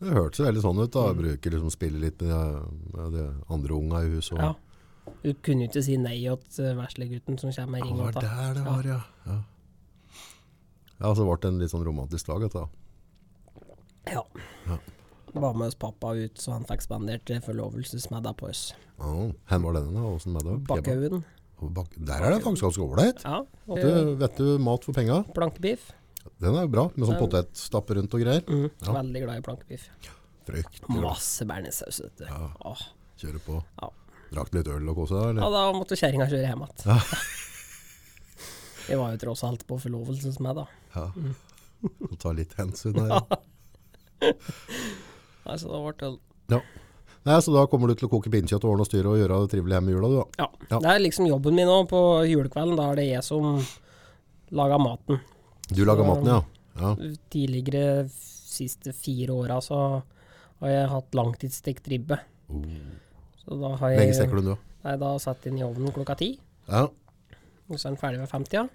Det hørtes jo veldig sånn ut. da. Jeg bruker liksom spille litt med de, med de andre unga i huset. og- Ja. Du kunne jo ikke si nei til veslegutten som kommer med Ja, det ring. var da. der det var, ja. Ja, ja så ble det en litt sånn romantisk lag. Da. Ja. Var med oss pappa ut, så han fikk spandert forlovelsesmiddag på oss. Ja. Hen var denne, da? Åssen med det? Kebab? Bakhaugen. Og Bak der er det faktisk ganske ålreit. Ja. og Du, Vet du, mat for penga, Plankebiff. den er jo bra. Med sånn Den- potetstapp rundt og greier. Mm. Ja. Veldig glad i plankebiff. Fryktelig bra. Masse bearnéssaus, vet du. Åh. Kjøre på. Ja. Drakk litt øl og kose deg, eller? ja, da måtte kjerringa kjøre hjem igjen. Vi var jo tross alt på Mm. forlovelsesmiddag. Ja. Og ta litt hensyn her. ja. Nei, så da ble det Ja. Nei, så da kommer du til å koke pinnekjøtt og ordne og styre og gjøre det trivelig hjemme i jula, du da. ja. Ja. Det er liksom jobben min nå på julekvelden. Da er det jeg som lager maten. Du lager maten, ja. ja. Tidligere siste fire åra så har jeg hatt langtidsstekt ribbe. Så da har Oh. Lenge jeg steker du den, du da? Nei, da satt den i ovnen klokka ti. Ja. Og så er den ferdig ved 50, ja.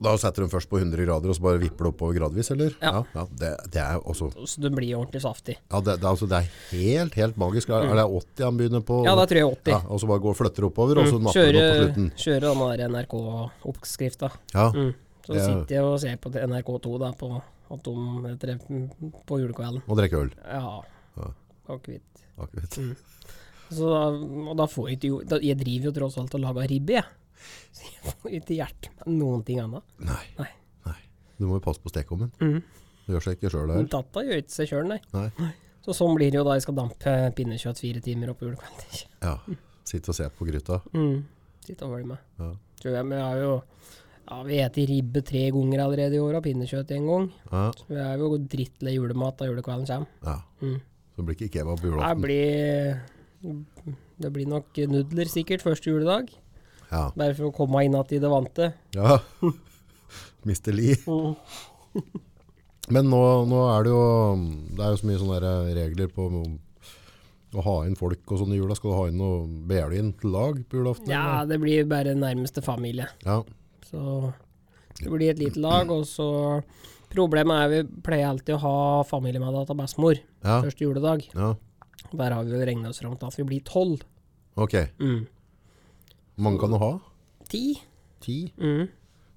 Da setter du den først på 100 grader, og så bare vipper du oppover gradvis, eller? Ja. ja, det, det er også Så den blir ordentlig saftig. Ja, det, det, er altså, det er helt, helt magisk. Er, er det 80 han begynner på? Mm. Ja, da tror jeg Mm. 80. Ja, og så bare går og flytter oppover, og så napper du Kjøre, opp på slutten. kjøre den der NRK-oppskrifta. Ja, Mm. Så Ja. sitter jeg og ser på NRK2 da på at de etter, på julekvelden. og drikke øl. Ja. Ja. Akevitt. Akkurat. Mm. Så da, og da får jeg ikke jo da, Jeg driver jo tross alt og lager ribbe, jeg. Så jeg får ikke hjerte med noen ting annet. Nei. Nei. Nei. Du må jo passe på stekeovnen. Mhm. Du gjør seg ikke sjøl Men der. Datta gjør ikke seg sjøl, nei. Nei. Så sånn blir det jo da jeg skal dampe pinnekjøtt fire timer opp på julekvelden. Ja. Sitte og se på gryta. Mm. Sitt og følg med. Ja. Tror jeg, men jeg har jo ja, Vi spiser ribbe tre ganger allerede i år, og pinnekjøtt én gang. Ja. Så vi er jo drittlei julemat da julekvelden kommer. ja. Mhm. Så det blir ikke kebab på Det julaften. blir, det blir nok nudler sikkert første juledag. Ja. Bare for å komme inn igjen i det vante. ja. Mr. Lee. Men nå, nå er det jo Det er jo så mye sånne der regler på å ha inn folk og sånn i jula. Skal du ha inn noe Ber du inn til lag på julaften? Ja, det blir bare nærmeste familie. eller? ja. Så det blir et lite lag, og så Problemet er vi pleier alltid å ha familiemiddag til bestemor Ja. første juledag. Ja. Der har vi jo regna oss fram til at vi blir tolv. Ok. Mm. Mange kan du ha? Ti. Ti? Mm.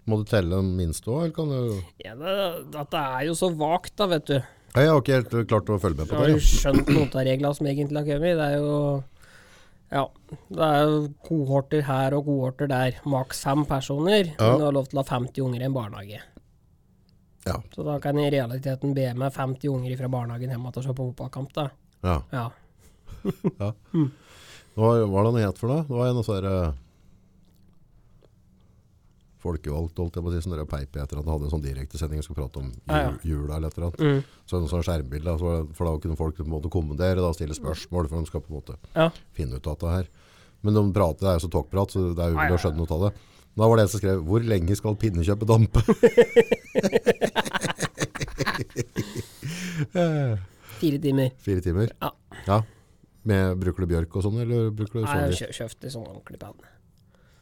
Må du telle den minste òg, eller kan du Ja, det, dette er jo så vagt, da, vet du. Nei, Jeg har ikke helt klart å følge med Jeg på har det. jo skjønt noen av reglene som egentlig har kommet. Det er jo ja, det er jo kohorter her og kohorter der. Maks fem personer. Ja. Men du har lov til å ha 50 unger i en barnehage. Ja. Så da kan jeg i realiteten be med 50 unger fra barnehagen hjem til å se på fotballkamp. da. ja. Ja. Hva var det han het for noe? Det var en av sånne der, eh, Folkevalgt, holdt jeg på å si. Sånn der peip etter at han hadde en sånn direktesending og skulle prate om Ja, ja. ju- jula eller et eller annet. Mm. Så en sånn skjermbilde, da, så var det- for da kunne folk på en måte kommentere da, og stille spørsmål, for de skal på en måte Ja. finne ut av det her. Men de prater, det er jo så talkprat, så det er Ja, umulig ja, å skjønne noe av det. Da var det en som skrev 'Hvor lenge skal pinnekjøpet dampe?' Fire timer. Fire timer? Ja. Ja. Med, bruker du bjørk og sånn, eller bruker du Nei, sånn jeg har kjø- kjøpt i sånn ordentlig panne.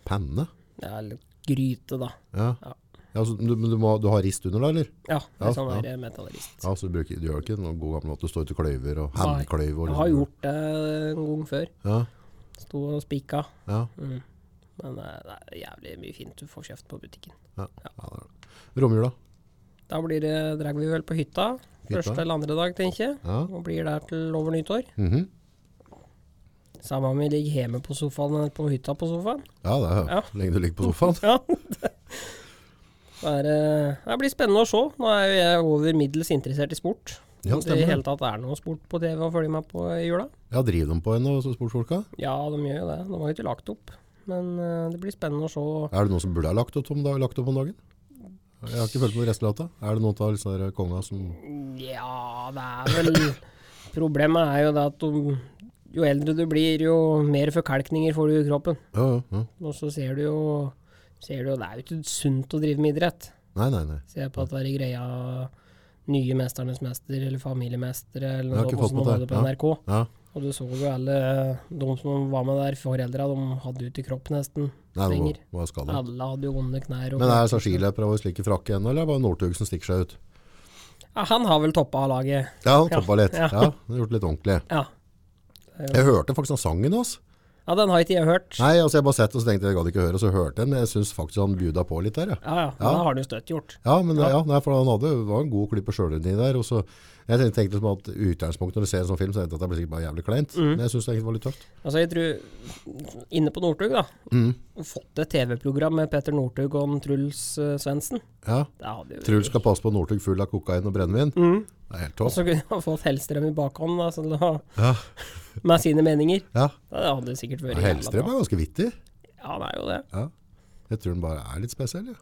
panne? Det er litt gryte, da. Ja. Ja. ja så du, men du, må, du har rist under da, eller? Ja, det Ja, er sånn ja. der metallrist. Ja, så du, bruker, du gjør ikke noen god gammel at du står til kløyver og Nei. hendkløyver. og Jeg har liksom- gjort det en gang før. Ja, Sto og spika. ja. Mm. Men eh, det er jævlig mye fint du får kjøpt på butikken. ja. ja det er det. Romjula. Da blir det, drar vi vel på hytta. Første eller andre dag, tenker jeg. Ja. Og blir der til over nyttår. Mhm. Samme om vi ligger hjemme på sofaen eller på hytta på sofaen. Ja, det er Ja. lenge du ligger på sofaen. Ja. Det, er, eh, det blir spennende å se. Nå er jo jeg over middels interessert i sport. Ja, Om det i stemmer hele det. tatt er noe sport på TV å følge med på i jula. Ja, driver de på ennå, så sportsfolka? Ja, de gjør jo det. De har jo ikke lagt opp. Men eh, det blir spennende å se. Er det noen som burde ha lagt opp om, da, lagt opp om dagen? Jeg har ikke følt med resultatet. Er det noen av liksom, der konga som Ja, det er vel Problemet er jo det at du, jo eldre du blir, jo mer forkalkninger får du i kroppen. Ja, ja, ja. Og så ser du jo ser du, jo- Det er jo ikke sunt å drive med idrett. Nei, nei, nei. Se på at det er greia Nye Mesternes Mester eller Familiemestere eller Jeg har noe ikke sånt fått som de med hadde det, på ja. NRK. Ja. Og du så jo alle de som var med der, foreldra, de hadde jo ikke kropp nesten Nei, det lenger. var, var skadet. Alle hadde jo vonde knær. og- Men er det så skiløpere og slike frakke ennå, eller er det bare Northug som stikker seg ut? ja, han har vel toppa laget. Ja, han toppa litt. Ja, ja. han har gjort litt ordentlig. Ja. Jeg hørte faktisk han sangen hans. ja, den har ikke jeg hørt. Nei, altså jeg bare sett og så tenkte jeg jeg gadd ikke høre, og så hørte jeg den, men jeg syns faktisk han bjuda på litt der, ja. Ja, ja. Men Ja. det har han jo støtt gjort. Ja, men ja, nei, for han hadde, var en god klipp på sjølrenning der, og så jeg tenkte, tenkte liksom at i utgangspunktet når du ser en sånn film, så tenkte jeg at det blir sikkert bare jævlig kleint, Mm. men jeg syns det egentlig var litt tøft. Altså, jeg tror Inne på Northug, da. Mm. Fått et TV-program med Petter Northug og en Truls uh, Svendsen. Ja. Det hadde jo Truls skal passe på Northug full av kokain og brennevin. Det er helt Mm. Og topp. så kunne han fått Hellstrøm i bakhånd, da, sånn, da, Ja. med sine meninger. ja. Det hadde sikkert vært jævla Hellstrøm bra. er ganske vittig. Ja, det er jo det. Ja. Jeg tror den bare er litt spesiell, ja.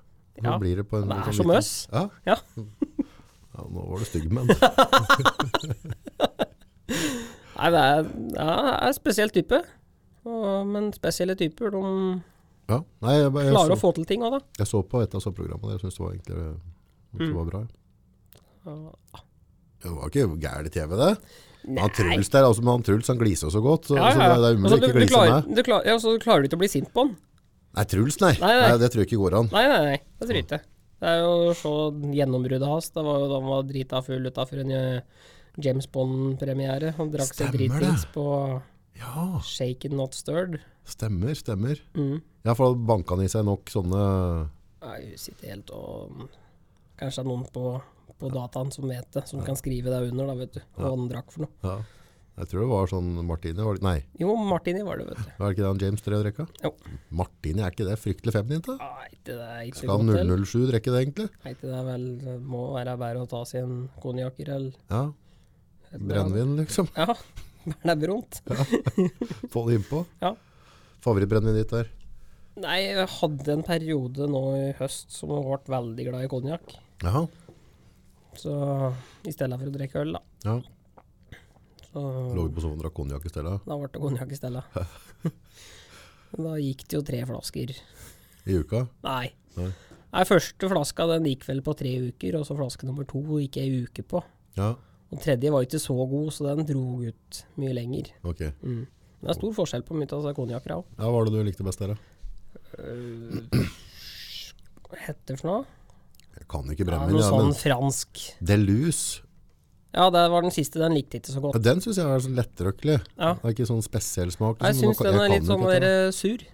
Nå Ja. blir det på en Det er sånn som liten- oss. Ja. Ja. ja, nå var du stygg, men Nei, det er, ja, det er en spesiell type. Og, men spesielle typer, de Ja. Nei, jeg, jeg, klarer å så, få til ting òg, da. jeg så på et av såprogrammet, jeg synes det var egentlig jeg synes det var bra. Ja. Det var ikke gærlig TV det. Han Nei. Truls der, altså, men han Truls han gliser så godt, så, så det, det er umulig Altså, å du- ikke du glise klarer- med. Du klarer, ja, så klarer du ikke å bli sint på han. Nei, Truls, nei. Nei, nei. Det tror jeg ikke går an. Nei, nei, nei. Det tror jeg ikke. Det er jo så gjennombruddet hans. Det var jo da han var drita full utafor en eh, James Bond-premiere. Han drakk seg Stemmer det. dritings på Ja, Shaken Not Stirred. stemmer, stemmer. Mm. Ja, for da banka han i seg nok sånne Jeg sitter helt og Kanskje det er noen på, på dataen som vet det, som kan skrive det under, da, vet du. Hva han drakk for noe. ja. Jeg tror det var sånn Martini var det, Nei, Jo, Martini var det, vet du. var det ikke det han James drev og drekka? Jo. Martini, er ikke det fryktelig feminint? da? Nei, det er ikke Skal godt til. 007 drikke det, egentlig? Nei, det er vel Det må være bedre å ta seg en konjakker eller Ja. et eller annet. Brennevin, liksom. Ja. Det er brunt. Få det innpå. Ja. Favorittbrennevinet ditt der? Nei, jeg hadde en periode nå i høst som jeg ble veldig glad i konjakk. Ja. Så i stedet for å drikke øl, da. ja. Så Lå på sofaen og drakk konjakk i stedet. da ble det konjakk i stedet. da gikk det jo tre flasker. I uka. Nei. Nei. Nei, første flaska den gikk vel på tre uker, og så flaske nummer to gikk jeg ei uke på. Ja, Og tredje var ikke så god, så den dro ut mye lenger. ok. Ja, Mm. Men Det er stor forskjell på altså, mye av disse konjakkene òg. Hva var det du likte best der, da? Hva heter det for noe? Jeg kan ikke Ja, brennevin, noe ja, sånn men fransk. Deluse. Ja, det var den siste. Den likte jeg ikke så godt. Ja, den syns jeg er sånn lettrøkkelig. Ja. Det er ikke sånn spesiell smak. Jeg liksom. syns den kan er litt jo sånn ikke dette. der sur.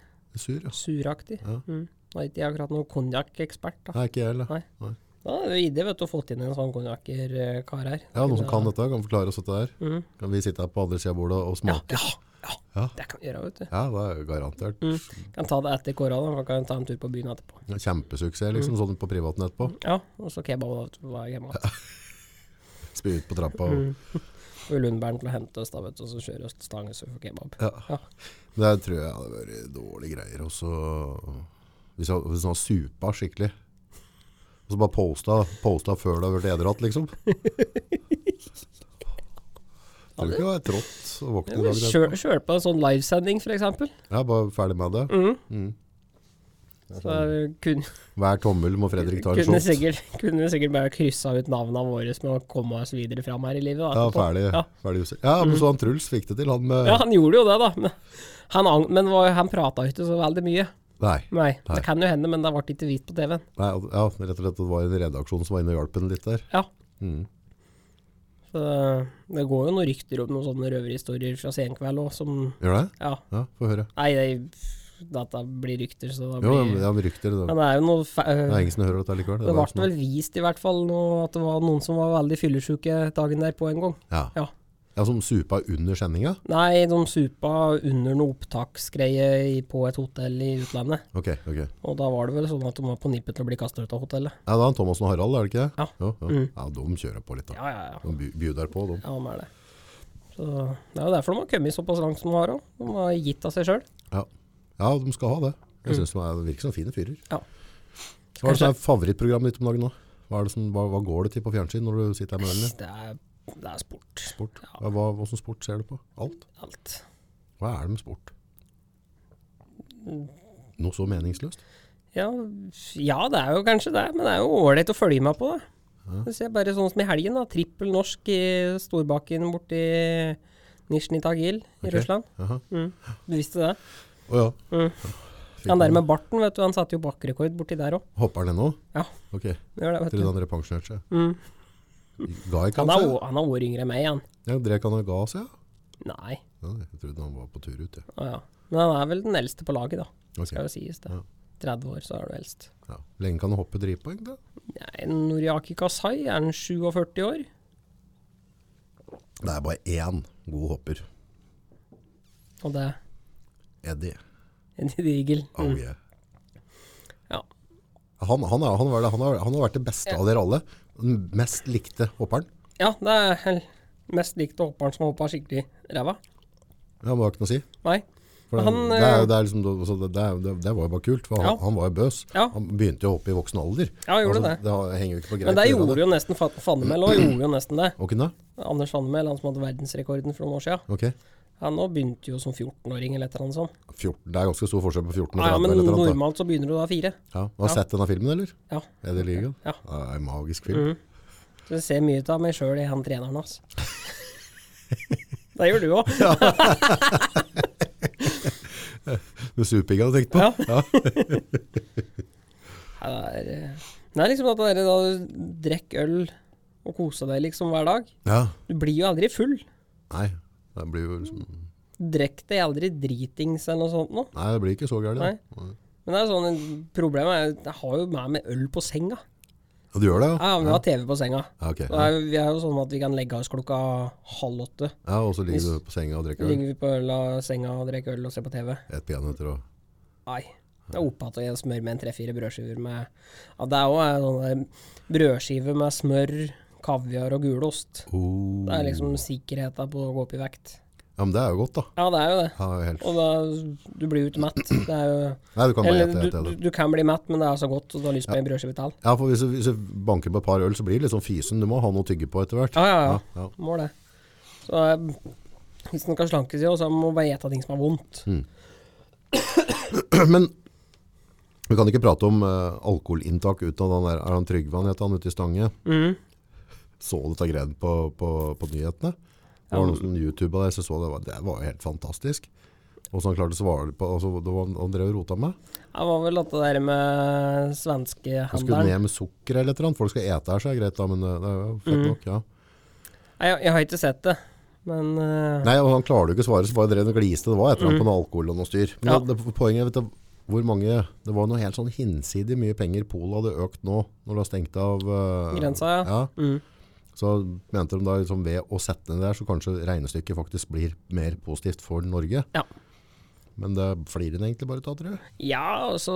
Sur, ja. Suraktig. Ja. Mm. Nå er ikke jeg akkurat noen konjakkekspert, da. Nei, ikke jeg heller. Nei. Da er det jo idé, vet du, å få inn en sånn konjakkerkar her. Ja, noen som kan dette, kan forklare oss dette her. Mhm. Kan vi sitte her på andre sida av bordet og Ja, smake? ja, ja. Ja. Det kan vi gjøre, vet du. Ja, det er jo garantert. Mm. Kan ta det etter kåra, da. for Kan ta en tur på byen etterpå. Kjempesuksess, Mm. liksom. Sånn på privaten etterpå. Ja, og så kebab da, vet du, hver hjemme. Spy ut på trappa. Mm. Og, Og Lundberg til å hente oss, da, vet du, og så kjører oss til Stangesund for kebab. ja. Ja. Det her tror jeg hadde vært dårlige greier. Og så Hvis han hvis han har supa skikkelig. Og så bare posta, posta før du har vært ederatt, liksom. Tror du ikke det er trått å våkne dagen etterpå? Kjør, kjør på en sånn livesending, for eksempel. Ja, bare ferdig med det. Mm. Så sånn- kunne, Hver tommel må Fredrik ta en kunne, shot. sikkert, kunne sikkert bare kryssa ut navnene våre med å komme oss videre fram her i livet. Da, Ja, etterpå. ferdig. Ja. Mm. ferdig juse. ja, men så han Truls fikk det til, han med Ja, han gjorde jo det, da. Men han, ang- men var- han prata ikke så veldig mye. Nei. Nei, Nei. det kan jo hende, men det ble ikke vist på TV-en. Nei, at- ja, rett og slett at det var en redaksjon som var inne og hjalp henne litt der. Ja. Mm. Så det går jo noen rykter om noen sånne røverhistorier fra Senkveld òg, som Gjør det? Ja. Ja, få høre. Nei, det, dette blir rykter, så Jo, det ja, blir men- ja, men rykter det. Men det er jo noe fa Det er sånn- ingen som hører dette likevel. Det var ble vel vist i hvert fall noe, at det var noen som var veldig fyllesyke dagen der på en gang. Ja. Ja. ja, som supa under sendinga? Nei, de supa under noe opptaksgreie i- på et hotell i utlandet. Ok, ok. Og da var det vel sånn at de var på nippet til å bli kasta ut av hotellet. Ja, da er han Thomassen og Harald, er det ikke det? Ja. Mm. Jo, ja. ja de kjører på litt, da. Ja, ja, ja. De by- bjuder på, de. Ja, de er det. Så Det er jo derfor de har kommet såpass langt som de har òg. De har gitt av seg sjøl. Ja. ja, de skal ha det. Jeg synes de er- de virker som fine fyrer. Mm. Ja. Hva er det som er favorittprogrammet ditt om dagen nå? Hva, er det som, hva, hva går det til på fjernsyn når du sitter her med den? din? Det er, det er sport. Sport? Ja, Ja, hva, hva slags sport ser du på? Alt? alt. Hva er det med sport? Noe så meningsløst? Ja, ja, det er jo kanskje det, men det er jo ålreit å følge med på, da. Det ser bare sånn som i helgen, da. Trippel norsk i Storbakken borti Nizjnij Tagil i Ok. Russland. Jaha. Mm. Du visste det? Å ja. Han der med barten, vet du, han satte jo bakrekord borti der òg. Hopper han ennå? Ja, Ok, det gjør det, vet til du. han repensjonerte seg. Mm. Ga ikke Han han er, seg? å- han er år yngre enn meg, han. Ja, Drek han og ga seg? Ja. Nei. Ja, jeg trodde han var på tur ut. Ja. Å ja. Men han er vel den eldste på laget, da. Ok. Skal jo sies, det. Ja. 30 år, så er du eldst. Ja. Lenge kan han hoppe drivpoeng, da? Nei, Noriaki Kasai er han 47 år. Det er bare én god hopper. Og det Eddie. er en digel. Oh, yeah. Ja. han, han, er, han, var det, han, har, han har vært det beste av dere alle. Den mest likte hopperen. ja, det er hel- mest likte hopperen som har hoppa skikkelig ræva. Ja, men det har ikke noe å si. Nei. For det, Han, det, er, eh, det, er liksom, altså, det, det, er- det var jo bare kult, for han, Ja. han var jo bøs. Ja. Han begynte jo å hoppe i voksen alder. Altså, Ja, han gjorde det. det henger jo ikke på greit. Men der gjorde jo nesten Fa- Fannemel òg, gjorde jo nesten det. Og kunne? Anders Fannemel, han som hadde verdensrekorden for noen år siden, Ok. han nå begynte jo som 14-åring eller et eller annet sånt. 14, det er ganske stor forskjell på 14 og 30. Ja, ja, eller men et eller annet, da. normalt så begynner du da fire. Ja. Har du Ja. sett denne filmen, eller? Ja. Er det Ligaen? Ja. Mm. Det er en magisk film. Så jeg ser mye ut av meg sjøl i han treneren hans. det gjør du òg. Med Suping hadde tenkt på. Ja. Ja, det er, eh, det er liksom at det er da du drikker øl og koser deg liksom hver dag. Ja. Du blir jo aldri full. Nei, det blir jo liksom Drikk deg aldri dritings eller noe sånt noe. Nei, det blir ikke så gærent. Nei. da. Nei. Men det er sånn, problemet er jo- jeg har jo med meg øl på senga. Ja, du gjør det, ja? Ja, vi har TV på senga. Ja, ok. Og er, vi er jo sånn at vi kan legge oss klokka halv åtte. ja og så ligger du på senga og Så drikker øl. ligger vi på øla, senga og drikker øl og ser på TV. Et peanøtter og Nei. Det er opphatt og jeg smør med en tre-fire brødskiver med Ja, det er jo en sånn der brødskive med smør, kaviar og gulost. oh. Det er liksom sikkerheten på å gå opp i vekt. Ja, men det er jo godt, da. Ja, det er jo det. Ja, helt. Og da, du blir jo ikke mett. Det er jo, Nei, du kan bare eller ete, du, ete, du, ete. du kan bli mett, men det er så godt, og du har lyst på en brødskive til. Ja, for hvis du, hvis du banker på et par øl, så blir det litt sånn fysen. Du må ha noe å tygge på etter hvert. Ja, ja, ja. ja. Må det. Så eh, hvis en kan slanke seg, så må en bare gjete ting som er vondt. Mm. Men vi kan ikke prate om eh, alkoholinntak uten at han der, er han Trygve han heter han ute i Stange? Så du dette greiene på, på, på nyhetene? Det var noen som YouTube-a der, så så det, var- det var jo helt fantastisk. Og så han klarte å svare på, altså, det var, han drev og rota med. Det var vel at det der med Han skulle svenskehandelen ned med sukker eller et eller annet. Folk skal ete her, så er det greit da, men eh, det er jo fett nok, ja. Nei, jeg, jeg har ikke sett det, men eh, Nei, og han klarte jo ikke å svare, så bare drev han og gliste. Det var et eller annet på noe alkohol og noe styr. Men Mm. Ja. det, det, poenget er, vet du, hvor mange Det var noe helt sånn hinsidig mye penger Polet hadde økt nå, når det har stengt av eh, Grensa, ja. Mm. Så mente de da liksom, ved å sette ned der, så kanskje regnestykket faktisk blir mer positivt for Norge. Ja. Men det flirer en egentlig bare av, tror jeg. ja, og så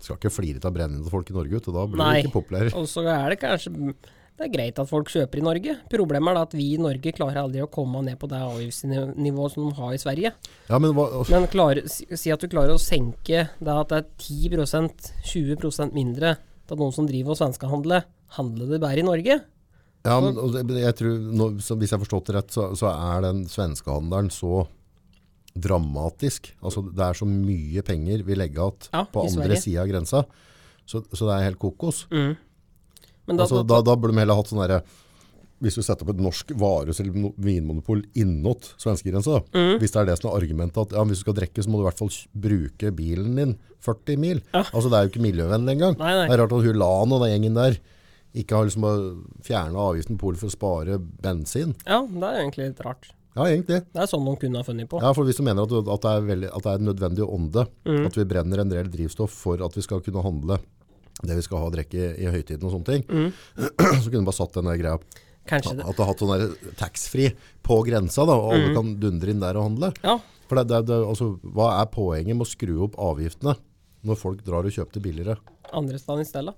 Skal ikke flire av brennende til folk i Norge, vet du. Da blir Nei. vi ikke populære. Og så er det kanskje Det er greit at folk kjøper i Norge. Problemet er da at vi i Norge klarer aldri å komme ned på det avgiftsnivået som de har i Sverige. Ja, men hva, Men klarer- si si at du klarer å senke det at det er 10 20 mindre til noen som driver og svenskehandler. Handler det bare i Norge? ja, Sånn. men og det- jeg tror, nå, så hvis jeg har forstått det rett, så, så er den svenskehandelen så dramatisk. Altså, det er så mye penger vi legger igjen Ja, på i andre Sverige. sida av grensa. Så, så det er helt kokos. Men da, Altså, da, da burde de heller hatt sånn derre Hvis du setter opp et norsk varehus eller no- vinmonopol innåt svenskegrensa, da, Mm. hvis det er det som er argumentet at ja, men hvis du skal drikke, så må du i hvert fall kj- bruke bilen din 40 mil. Altså, det er jo ikke miljøvennlig engang. Nei, nei. Det er rart at Hulan og den gjengen der ikke har liksom fjerna avgiften på polet for å spare bensin. Ja, det er jo egentlig litt rart. Ja, egentlig. Det er sånn noen kunne ha funnet på. Ja, for Hvis du mener at, du- at, det, er veldig, at det er en nødvendig ånde Mm. at vi brenner en del drivstoff for at vi skal kunne handle det vi skal ha og drikke i, i høytiden og sånne ting, Mm. så kunne du bare satt den der greia Kanskje det. Mm. at du har hatt sånn der taxfree på grensa, da, og alle kan dundre inn der og handle. Ja, For det, det, det, altså, Hva er poenget med å skru opp avgiftene når folk drar og kjøper det billigere? andre stedet i stedet.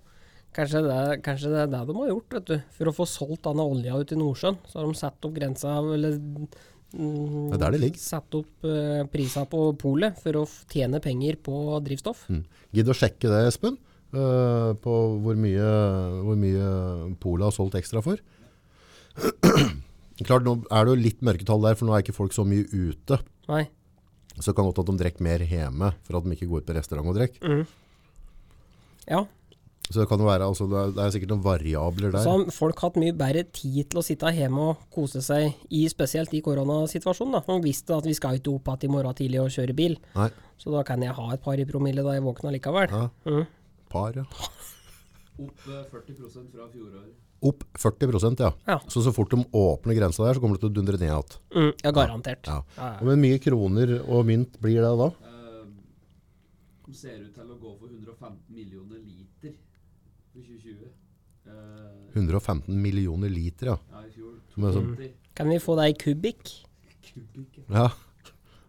Kanskje det, er- kanskje det er det de har gjort, vet du. For å få solgt denne olja ut i Nordsjøen, så har de satt opp grensa, eller mm, Det er der det ligger. satt opp uh, prisa på polet for å f- tjene penger på drivstoff. Mm. Gidd å sjekke det, Espen, eh, på hvor mye, hvor mye Polet har solgt ekstra for. Klart, nå er det jo litt mørketall der, for nå er ikke folk så mye ute. Nei. Så kan det godt at de drikker mer hjemme, for at de ikke går ut på restaurant og drikker. Mm. Ja. Så det kan jo være, altså, det er, det er sikkert noen variabler Så der. har folk hatt mye bedre tid til å sitte hjemme og kose seg, i, spesielt i koronasituasjonen. da. Man visste at vi skal ikke opp igjen i morgen tidlig og kjøre bil, Nei, så da kan jeg ha et par i promille da jeg våkner likevel. ja. Par, ja. Opp eh, 40 fra fjoråret. Opp 40 ja. Ja. Så så fort de åpner grensa der, så kommer det til å dundre ned igjen. Mm, ja, garantert. Ja. Ja, ja. Og Men mye kroner og mynt blir det da? Eh, De ser ut til å gå for 115 millioner liter for 2020. Eh, 115 millioner liter, ja. ja, i fjor. Som er sånn, 80 Kan vi få deg i kubikk? kubikk. ja.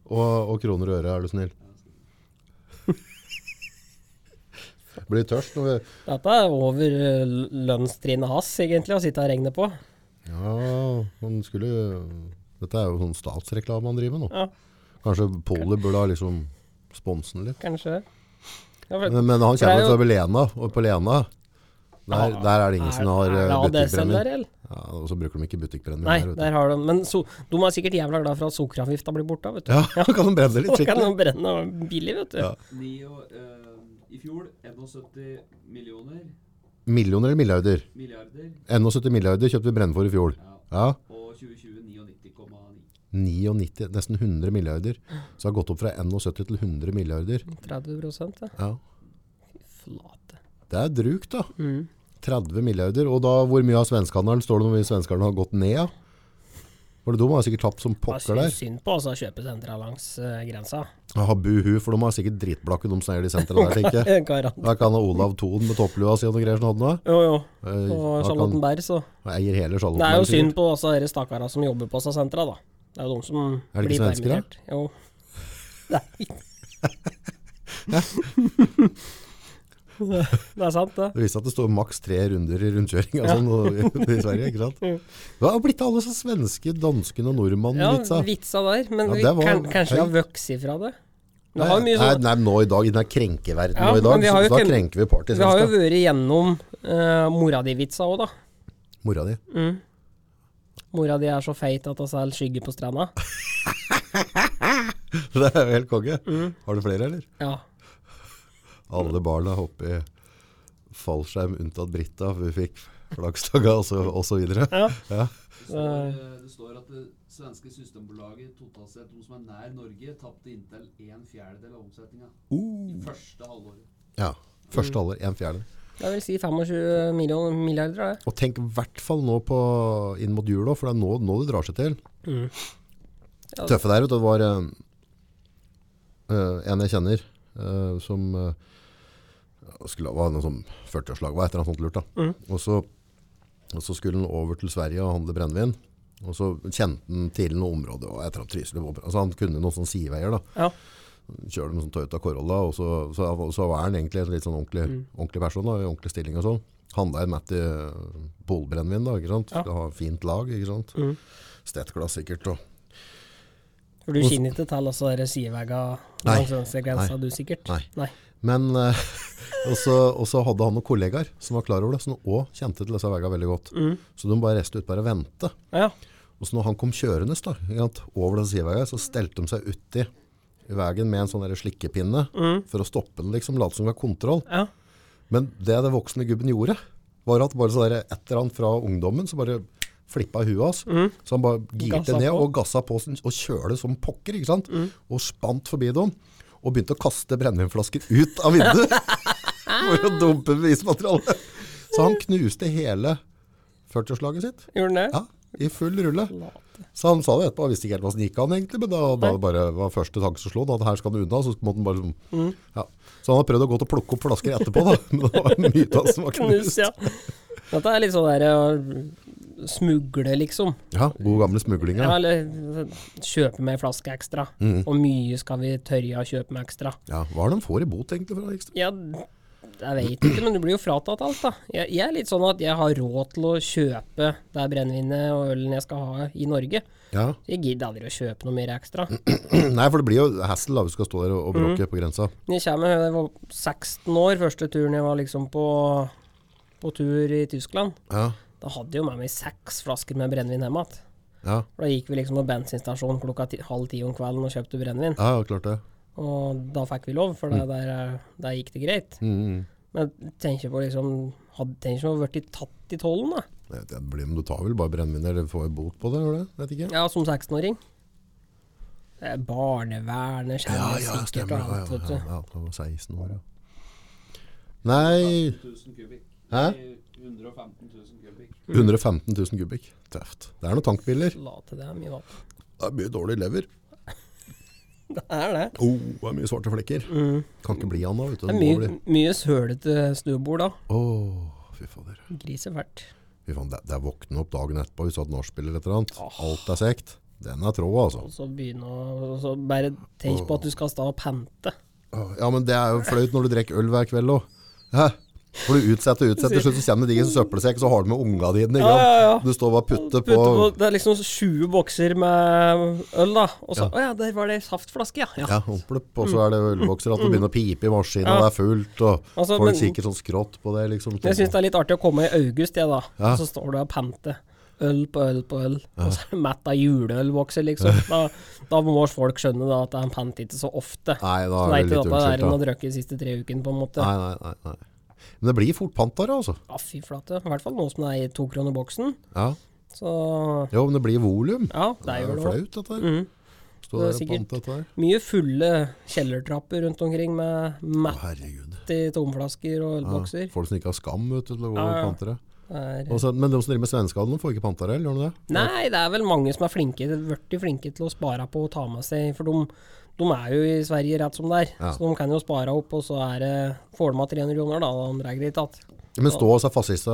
Og, og kroner og øre, er du snill. Blir tørst når vi Dette er over eh, lønnstrinnet hans, egentlig, å sitte og regne på. Ja, man skulle Dette er jo sånn statsreklame han driver med nå. Ja. Kanskje Polly burde ha liksom sponsen litt. kanskje. Ja, for, Men, men han For det er kommer jo- fra Belena, og på Lena der, der er det ingen som har er det eh, ADSL butikkbrennevin. der, eller? Ja, og så bruker de ikke butikkbrennevin Nei, der, vet der har de Men so, de er sikkert jævla glad for at sukkeravgifta blir borte, vet du. du. Ja, kan de brenne litt Da kan de skikkelig? brenne billig, vet du. Ja. Ni og, eh, I fjor 71 millioner Millioner eller milliarder? milliarder. 71 milliarder kjøpte vi brenne for i fjor. Ja. Ja, Og 2020 99,9. 99, nesten 100 milliarder. Så det har gått opp fra 71 til 100 milliarder. 30 ja. Ja. Flate. Det er drukt, da. Mm. 30 milliarder. Og da hvor mye av svenskehandelen står det hvor mye svenskene har gått ned av? For de har sikkert tapt som Hva pokker syns der. synd på altså, kjøpesentra langs eh, grensa? Ja, buhu, for de er sikkert dritblakke, de som eier de sentrene der, tenker jeg. Garant. Der kan ha Olav Thon med topplua si og noe greier som hadde noe. Jo, jo. Eh, Og da kan- Charlottenberg, så. han eier hele Det er Charlottenberg. jo synd på altså, dere stakkara som jobber på seg sentra, da. Det er jo de som Er det ikke blir svensker, da? permittert. Jo. Nei. det er sant, det. Det viser at det står maks tre runder i rundkjøringa sånn, og- i Sverige. ikke sant? Det har blitt alle så svenske, danskene og nordmannen Ja, litt, sa. vitsa der. Men Ja, vi det var- kan, kanskje vi har Hei. vokst ifra det. Vi har, jo Nei, mye nei, sånn, nei, nå i dag, i den her krenkeverdenen Ja, nå i men dag, vi så, har jo så da ikke- krenker vi party. vi har jo vært gjennom eh, mora di-vitsa òg, da. Mora di. Mm. Mora di er så feit at hun selger skygge på stranda. Det er jo helt konge. Mm. Har du flere, eller? Ja. Alle barna hopper i fallskjerm unntatt Britta, for vi fikk flaggstanga og, så- og så videre. ja. Ja. Det står, eh, det står at det svenske systembolaget totalt sett, de som er nær Norge, tapte inntil en fjerdedel av omsetninga. I Uh. første halvåret. ja. Mm. Første halvår, en fjerde. Det vil si 25 millioner, milliarder, er det. Og tenk i hvert fall nå på, inn mot jula, for det er nå, nå det drar seg til. Ja. Tøffe der, vet du, det var eh, eh, en jeg kjenner eh, som eh, skulle, var noe sånn 40-årslag, var et eller annet sånt lurt da. Og, så, og så skulle han over til Sverige og handle brennevin. Og så kjente han til noe område, og et eller annet Trysil. Altså han kunne noen sånne siveier da Ja. kjører de sånn Toyota Corolla, og så, så, så er han egentlig en litt sånn ordentlig, Mm. ordentlig person, da, i ordentlig stilling og sånn. Handla en Matti eh, Polbrennevin, da, ikke sant? Ja. Skal ha fint lag, ikke sant? Mm. Stettglass sikkert, og For du kjenner ikke til altså dere sidevegga Nei. langs svenskegrensa, du sikkert? Nei. Nei. Men, eh, og så og så hadde han noen kollegaer som var klar over det, som også kjente til disse veggene veldig godt. Mm. Så de bare reiste ut bare og vente. Ja, Og så når han kom kjørende da, ikke sant, over den sideveggen, så stelte de seg uti veien med en sånn der slikkepinne for å stoppe den, liksom, late som det var kontroll. Mm. ja. Men det den voksne gubben gjorde, var at bare så der, etter han fra ungdommen, så bare flippa huet hans. Så han bare girte Gassa ned Mm. på. Mm. og gassa på sin, og kjøle som pokker, ikke sant? Og spant forbi dem. Og begynte å kaste brennevinflasker ut av vinduet for å dumpe bevismaterialet. Så han knuste hele 40-årslaget sitt. Gjorde den det? Ja, I full rulle. Flate. Så han sa det etterpå, han visste ikke helt hva som gikk an egentlig, men da, da bare var første tanke som slo, da at her skal han unna, så måtte han bare sånn, Mm. ja. Så han har prøvd å gå til å plukke opp flasker etterpå da, men det var mye av det som var knust. Knust, ja. Dette er litt sånn derre å smugle, liksom. Ja, god gamle smuglinga. Ja, Mm. eller kjøpe med en flaske ekstra. Hvor mye skal vi tørre å kjøpe med ekstra? Ja, hva er det de får i bot egentlig for det ekstra? Ja, jeg vet ikke, men du blir jo fratatt alt, da. Jeg, jeg er litt sånn at jeg har råd til å kjøpe det brennevinet og ølen jeg skal ha i Norge. Ja, Jeg gidder aldri å kjøpe noe mer ekstra. nei, for det blir jo hassle da, vi skal stå der Mm. og, og bråke på grensa. Men Jeg kommer, jeg var 16 år, første turen jeg var liksom på, på tur i Tyskland. Ja, Da hadde jeg jo med meg seks flasker med brennevin hjemme igjen. ja, Da gikk vi liksom på bensinstasjonen klokka ti, halv ti om kvelden og kjøpte brennevin. ja, klart det. Og da fikk vi lov, for det, der, eh, der gikk det greit. Mm. Men tenk på liksom hadde, Tenk om å ha blitt tatt i tollen, da. Jeg vet ikke, det blir, men du tar vel bare brennvin eller får en bot på det, gjør du det? Vet ikke. Ja, som 16-åring. Det er Barnevernet kjenner sikkert og alt, vet ja, du. ja, det var 16 år, ja. Nei, 000 kubikk. Hæ? I 115 000 kubikk. 115 000 kubikk. Tøft. Det er noen tankbiler. La til det er mye vann. Det er mye dårlig lever. Det er det. Oh, det er mye svarte flekker. Kan ikke bli han da, vet du. Mm. Det er Må mye, bli- mye sølete stuebord, da. Åh, fy fader. Griser fælt. Fy faen, det, det er våkne opp dagen etterpå hvis du har et nachspiel eller et eller annet. Alt er sekt. Den er trå, altså. Og så begynne å og så Bare tenk på at du skal stå og pente. Åh, Ja, men det er jo fløyt når du drekker øl hver kveld også. Hæ? For du utsetter og utsetter, til slutt så kommer det deg en søppelsekk, så har du med unga dine. Ikke Ja, sant? ja, ja. Du står bare og putter Putte på på, det er liksom 20 bokser med øl, da. Og så Å ja, der var det saftflaske, ja. ja. ja, omplupp, og så er det ølbokser, at det begynner å pipe i maskinen, og det er fullt, og Mm. Altså, folk men- kikker sånn skrått på det. Liksom, Jeg syns det er litt artig å komme i august, jeg, da. Ja. Og så står du og panter. Øl på øl på øl. Og så er det mett av juleølbokser, liksom. Da, da må folk skjønne da, at han panter ikke så ofte. Nei, da er så det det er litt ikke dette der en unnskyldt, har drukket de siste tre ukene, på en måte. Nei, nei, nei, nei. Men det blir fort pantere, altså. Ja, fy flate. I hvert fall nå som det er i tokronerboksen. Ja. Så Jo, men det blir volum. ja, det Det er er jo jo det. Mm. flaut, dette her. Står Det er der og sikkert- panter dette her. Mye fulle kjellertrapper rundt omkring med Å, mett herregud. i tomflasker og Ja, ølbokser. folk som ikke har skam, vet du, til å gå Ja, og ja. pantere. Det er- Og så- men de som driver med svenskehall, de får ikke pantere, eller gjør de det? Nei, det er vel mange som er flinke, vært flinke til å spare på å ta med seg, for de, de er jo i Sverige rett som det er. Ja. Så de kan jo spare opp, og så er det, får de av 300 kroner, da. og andre er greit tatt. Men stå altså fascister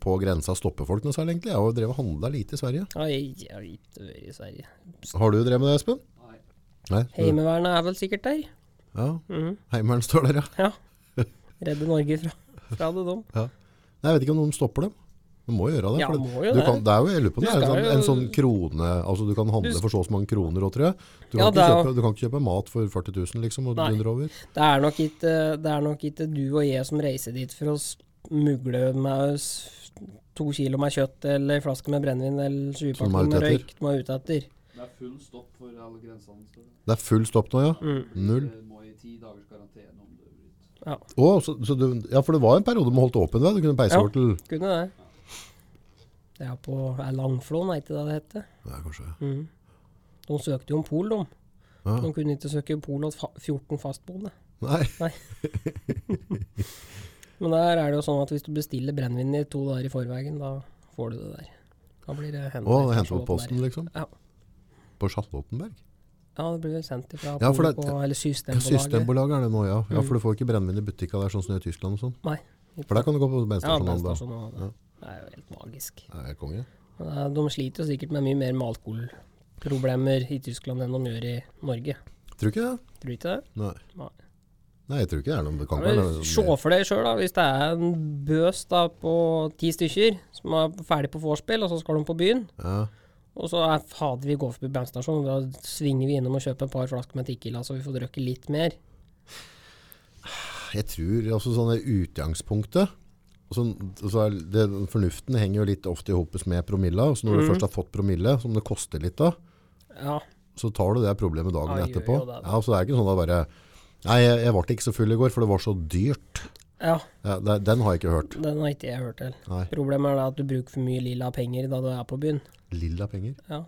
på grensa og stoppe folk noe særlig, egentlig. Jeg har jo drevet og handla lite i Sverige. Ja, jeg jeg har ikke vært i Sverige. Har du drevet med det, Espen? Nei. Nei. du- Heimevernet er vel sikkert der. Ja. Mm. Heimeren står der, ja. Ja. Redde Norge fra, fra det, de. ja. Nei, jeg vet ikke om noen stopper dem. Du må gjøre det. Ja, for må jo du det. Kan, det er jo, jeg lurer på om det Du er en skal sånn, jo- en sånn krone Altså du kan handle Du- for så og så mange kroner òg, tror jeg. Du kan, Ja, det ikke er jo- kjøpe, du kan ikke kjøpe mat for 40 000, liksom, og du Nei. dundrer over. Det er, nok ikke, det er nok ikke du og jeg som reiser dit for å smugle med oss to kilo med kjøtt eller en flaske med brennevin eller Som de er 20-pakke med ute etter. røyk de er ute etter. Det er full stopp for alle grensehandelssteder. Det er full stopp nå, ja. Mm. Null. Du må i ti dagers karantene om du bryter. Ja, Å, så, så du, ja, for det var en periode med holdt åpen, da. Du kunne peise Ja. over til kunne det. Det er på er Langflåen, er ikke det det heter? Nei, kanskje. Mm. De søkte jo om pol, de. Ja. De kunne ikke søke pol hos fa- 14 fastboende. Nei. Men der er det jo sånn at hvis du bestiller brennevin i to dager i forveien, da får du det der. Da blir det hentet Å, fra hente på Charlottenberg. posten, liksom. Ja. På Charlottenberg? Ja, det blir sendt fra Ja, for polet det- på, eller Ja, Systembolaget. Systembolaget er det nå, ja. ja. For du får ikke brennevin i butikka der, sånn som det er i Tyskland og sånn. Nei. For der kan du gå på Ja, bensinstasjonen. Ja, bensinstasjonen og det. Det er jo helt magisk. det er konge. Men det er- De sliter jo sikkert med mye mer med alkoholproblemer i Tyskland enn de gjør i Norge. Tror ikke det. Tror du ikke det? Nei. Nei. Nei, jeg tror ikke det er noen Ja, bekant. men Se for deg sjøl, da. Hvis det er en bøs da på ti stykker som er ferdig på vorspiel, og så skal de på byen. Ja. Og så er fader, vi går forbi bandstasjonen, da svinger vi innom og kjøper et par flasker med Tikkila, så vi får drukket litt mer. Jeg tror altså sånn det utgangspunktet og sånn, så er det, Fornuften henger jo litt ofte i hopet med promilla. og Så når Mm. du først har fått promille, som det koster litt av, Ja. så tar du det problemet dagen Ja, gjør etterpå. jo det, da. Ja, så det er ikke sånn at bare Nei, jeg, jeg ble ikke så full i går, for det var så dyrt. ja. Ja, det, den har jeg ikke hørt. Den har ikke jeg hørt til. Nei. Problemet er da at du bruker for mye lilla penger da du er på byen. Lilla penger. Ja.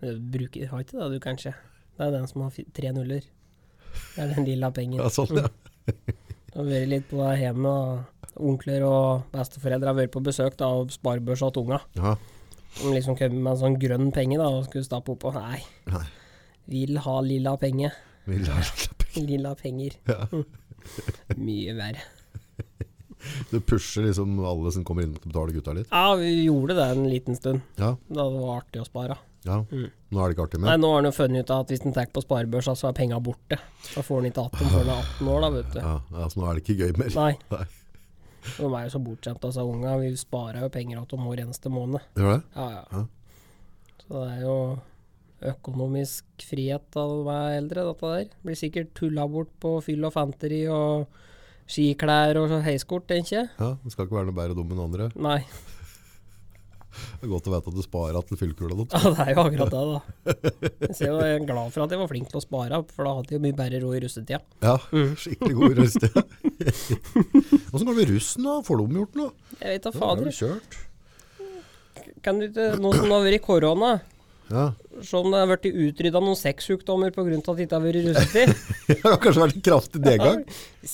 Du bruker, har ikke det du, kanskje. Det er den som har fi- tre nuller. Det er den lilla pengen. Ja, sånn, ja. Du har vært litt på deg hjemme, og onkler og besteforeldre har vært på besøk da, og sparebørsa til unga. ja. De liksom kom med en sånn grønn penge da, og skulle stappe oppå. Nei. Nei. Vil ha lilla penge. Lilla penger. Lilla penger. Mye verre. Du pusher liksom alle som kommer inn til å betale gutta litt. Ja, vi gjorde det en liten stund. Ja, Da det var artig å spare. ja. Nå er det ikke artig Mm. mer. Nei, nå har han jo funnet ut at hvis han tar på sparebørsa, så er penga borte. Da får han ikke att dem før han er 18 år, da, vet du. Ah. Ja, altså, nå er det ikke gøy mer. Nei. Nei. De er jo så bortskjemte, altså. Unga vi sparer jo penger av dem hver eneste måned. Gjør det? Ja, ja. Ja. Så det er jo økonomisk frihet da de er eldre, dette der. Blir sikkert tulla bort på fyll og fanteri og skiklær og så heiskort, tenker jeg. Ja, det skal ikke være noe bedre dum enn andre. Nei. Det er godt å vite at du sparer til fyllkula ditt. Ja, det er jo akkurat det, da. Jeg ser jo jeg er glad for at jeg var flink til å spare, for da hadde jeg jo mye bedre råd i russetida. Ja, skikkelig god rust. ja. Åssen går det med russen, da? Får de gjort noe? Jeg vet Ja, det da er fader. vel kjørt. Kan du ikke, nå som det har vært korona, Ja. se om det har blitt utrydda noen sexsykdommer pga. at det ikke har vært russetid? Det har kanskje vært en kraftig nedgang.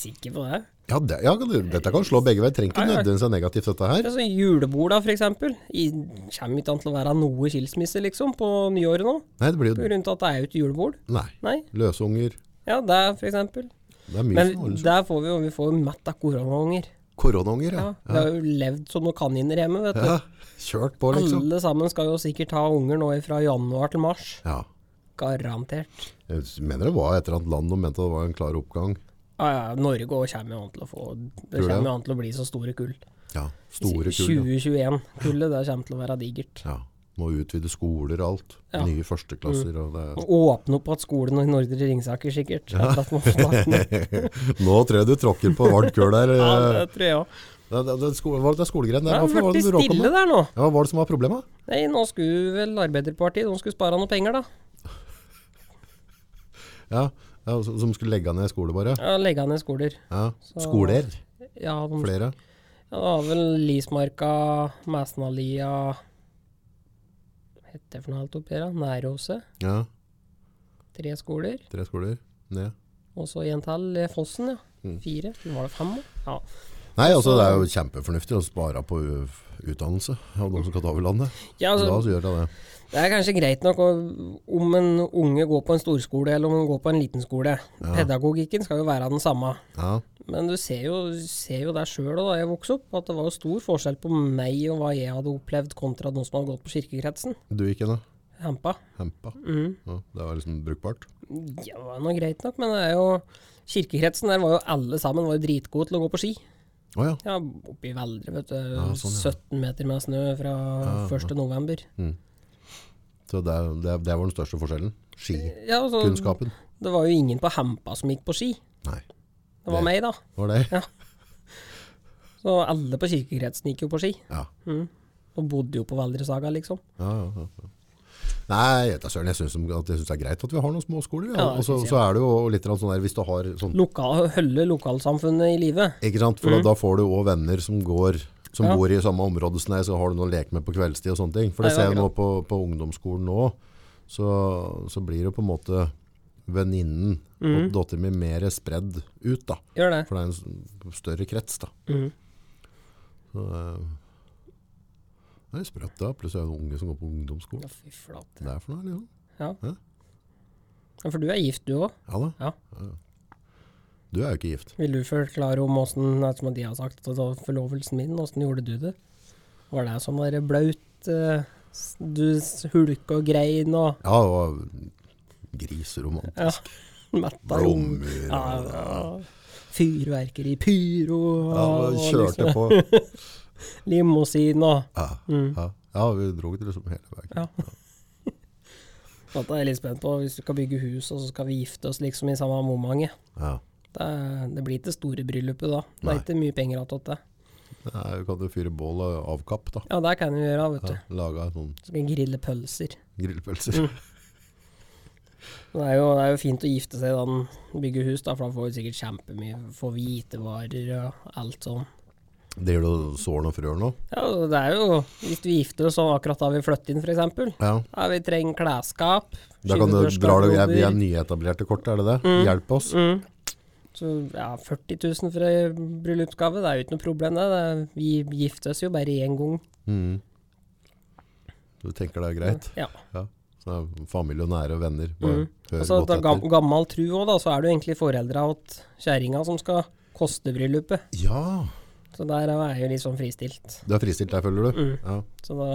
Sikker på det? Ja, det, ja, du, dette kan slå begge veier. Trenger ikke Ja, ja. nødvendigvis være negativt, dette her. Det er sånn julebord da, for eksempel. I, kommer ikke an til å være noe skilsmisse, liksom, på nyåret nå. Nei, det blir På jo grunn av at det er jo ikke julebord. Nei. Nei. Løsunger. Ja, det er for eksempel. Det er mye Men som holder seg. der får vi jo, vi får jo mett av koronaunger. Koronaunger, ja. Ja, vi har jo levd som noen kaniner hjemme, vet du. ja. Kjørt på, liksom. Alle sammen skal jo sikkert ha unger nå fra januar til mars. Ja. Garantert. Jeg mener det var et eller annet land de mente det var en klar oppgang. Ja, ja, Norge òg kommer jo an til å få Det Tror du det? kommer jo an til å bli så store kull. Ja, store kull. ja. 2021-kullet, det kommer til å være digert. Ja. Må utvide skoler og alt. Ja. Nye førsteklasser og det Og Åpne opp igjen skolen i Nordre Ringsaker, sikkert. Ja. det Nå tror jeg du tråkker på varmt kull der. eh. tror jeg òg. Det, det, det, sko- hva var det skolegreien Det der? Hvorfor har var blitt det du råka stille med? der nå. Ja, hva var det som var problemet? Nei, nå skulle vel Arbeiderpartiet De skulle spare noe penger, da. Ja, ja som- Som skulle legge ned skole, bare? Ja, legge ned skoler. Ja. Skoler? Ja, de, ja, Flere? det var vel Lismarka, Mæsenalia Hva heter det for noe alt oppi her, da? Næråset. Ja, Tre skoler. tre skoler. Ned. Og så en til, eh, Fossen, ja. Mm. Fire. Var det fem? da? Ja. Nei, altså det er jo kjempefornuftig å spare på u- utdannelse av de som skal ta over landet. ja Da altså, så gjør jeg det. det er kanskje greit nok å, om en unge går på en storskole eller om hun går på en liten skole. Pedagogikken skal jo være den samme. Ja, Men du ser jo, ser jo der sjøl da jeg vokste opp, at det var jo stor forskjell på meg og hva jeg hadde opplevd, kontra noen som hadde gått på kirkekretsen. Du gikk inn, da? Hempa. Hempa? Mm. Ja, det var liksom brukbart? Ja, det var nå greit nok, men det er jo Kirkekretsen der var jo alle sammen var jo dritgode til å gå på ski. Å ja. Ja, Oppe i Veldre, vet du. sånn, ja. 17 meter med snø fra Ja, Mm. ja. 1. november. Så det, det, det var den største forskjellen. Skikunnskapen. Ja, altså, Det var jo ingen på Hempa som gikk på ski. Nei, Det var Det- meg, da. var det? Så alle på kirkekretsen gikk jo på ski. Ja. Og bodde jo på Valdresaga, liksom. Ja, ja, ja. Nei, jeg vet da søren, jeg syns det er greit at vi har noen små skoler. Ja. Ja, og det så, synes jeg. så er det jo litt grann sånn der hvis du har sånn Lokal, holde lokalsamfunnet i live. Ikke sant? For da, da får du òg venner som går som Mm. Ja. bor i samme område som deg, så har du noe å leke med på kveldstid og sånne ting. For det Nei, ser det jeg er nå på, på ungdomsskolen nå, så, så blir det på en måte venninnen og Mm. datteren min mer spredd ut, da. Gjør det. For det er en s- større krets, da. Mhm. Så, eh, det er sprøtt, da. Plutselig er det unge som går på ungdomsskolen. Ja, fy flate. Det er for noe, liksom. Ja. Hæ? ja. For du er gift, du òg. Ja da. Ja. Du er jo ikke gift. Vil du forklare om åssen Som de har sagt, altså forlovelsen min, åssen gjorde du det? Var det som var blaut? eh, s- Du s- hulka og grein og Ja, det var griseromantisk. ja, metta Blommer rom. og- Ja, ja. Fyrverkeri, pyro og, Ja, og vi kjørte liksom, på. limousin og Ja, Mm. ja. ja, vi dro det liksom hele veien. Ja. Dette er jeg litt spent på. Hvis vi skal bygge hus, og så skal vi gifte oss liksom i samme momentet. Ja. Det, er- det blir ikke store bryllupet da. Det Nei. er ikke mye penger igjen til det. Nei, vi kan jo fyre bål og avkapp, da. Ja, det kan vi gjøre, vet Ja, du. Laga sånn Så kan vi grille pølser. grillpølser. Mm. Det er, jo, det er jo fint å gifte seg da en bygger hus, da, for da får vi sikkert kjempemye. Får hvitevarer og alt sånn. Det gjør du såren og frøren òg? Ja, og det er jo Hvis vi gifter oss sånn akkurat da vi flytter inn, f.eks. Ja. Ja, vi trenger klesskap. Da kan du dra det skyvedørsgarderober. Vi er nyetablerte kort, er det det? Hjelp oss. Mm. Så ja, 40 000 for ei bryllupsgave, det er jo ikke noe problem, det. det er, vi gifter oss jo bare én gang. Mm. Du tenker det er greit? Ja. Ja. Så er familie og nære venner. Bare Mm. hør Altså, godt da, gam, etter. gammel tru òg, da, så er det jo egentlig foreldra til kjerringa som skal koste bryllupet. Ja! Så der er jeg jo litt sånn fristilt. Du er fristilt der, føler du? Mm. Ja. Så da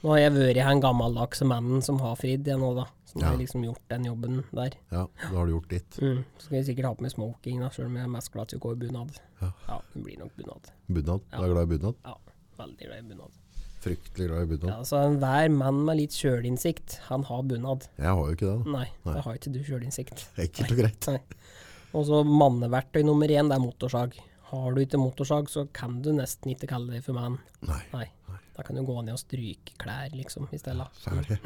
nå har jeg vært han gammeldagse mannen som har fridd, jeg nå, da. Så nå har Ja. jeg liksom gjort den jobben der. ja, da har du gjort ditt. Mm. Så skal jeg sikkert ha på meg smoking, da, sjøl om jeg er mest glad til å gå i bunad. Ja. Ja, det blir nok bunad. Bunad. Du er glad i bunad? Ja, veldig glad i bunad. Fryktelig glad i bunad. Ja, altså Enhver mann med litt sjølinnsikt, han har bunad. Jeg har jo ikke det, da. Nei, Nei. det har ikke du sjølinnsikt. Enkelt og greit. Nei. Og så manneverktøy nummer én, det er motorsag. Har du ikke motorsag, så kan du nesten ikke kalle det for mann. Nei, Nei. Da kan du gå ned og stryke klær, liksom, i stedet. særlig.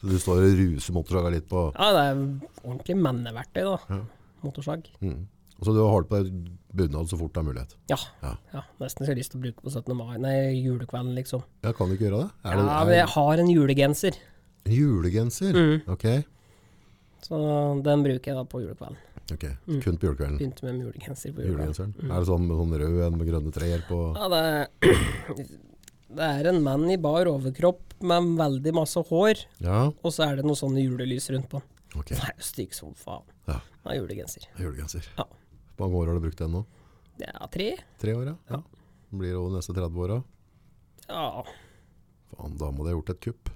Så du står og ruser motorsaga litt på Mm. Ja, det er ordentlig manneverktøy, da. Motorsag. mm. Så du har det på deg bunad så fort det er mulighet. Ja. Ja. ja. Nesten så jeg har lyst til å bruke på 17. mai, nei, julekvelden, liksom. Ja, kan du ikke gjøre det? Er Ja, men det jeg har en julegenser, er julegenser? Mm. Ok. så den bruker jeg da på julekvelden. ok. Kun på julekvelden. Begynte med en julegenser på Mm. julekvelden. Mm. Julegenseren. Er det sånn, med sånn rød en med grønne trær på Ja, det er, det er en mann i bar overkropp med veldig masse hår, Ja, og så er det noen sånne julelys rundt på den. ok. Det er jo stygg som faen. Ja, Han har julegenser. julegenser. Ja. Hvor mange år har du brukt den nå? Det er tre. Tre år, ja? ja. Blir det over de neste 30 åra? Ja. Faen, da må du ha gjort et kupp.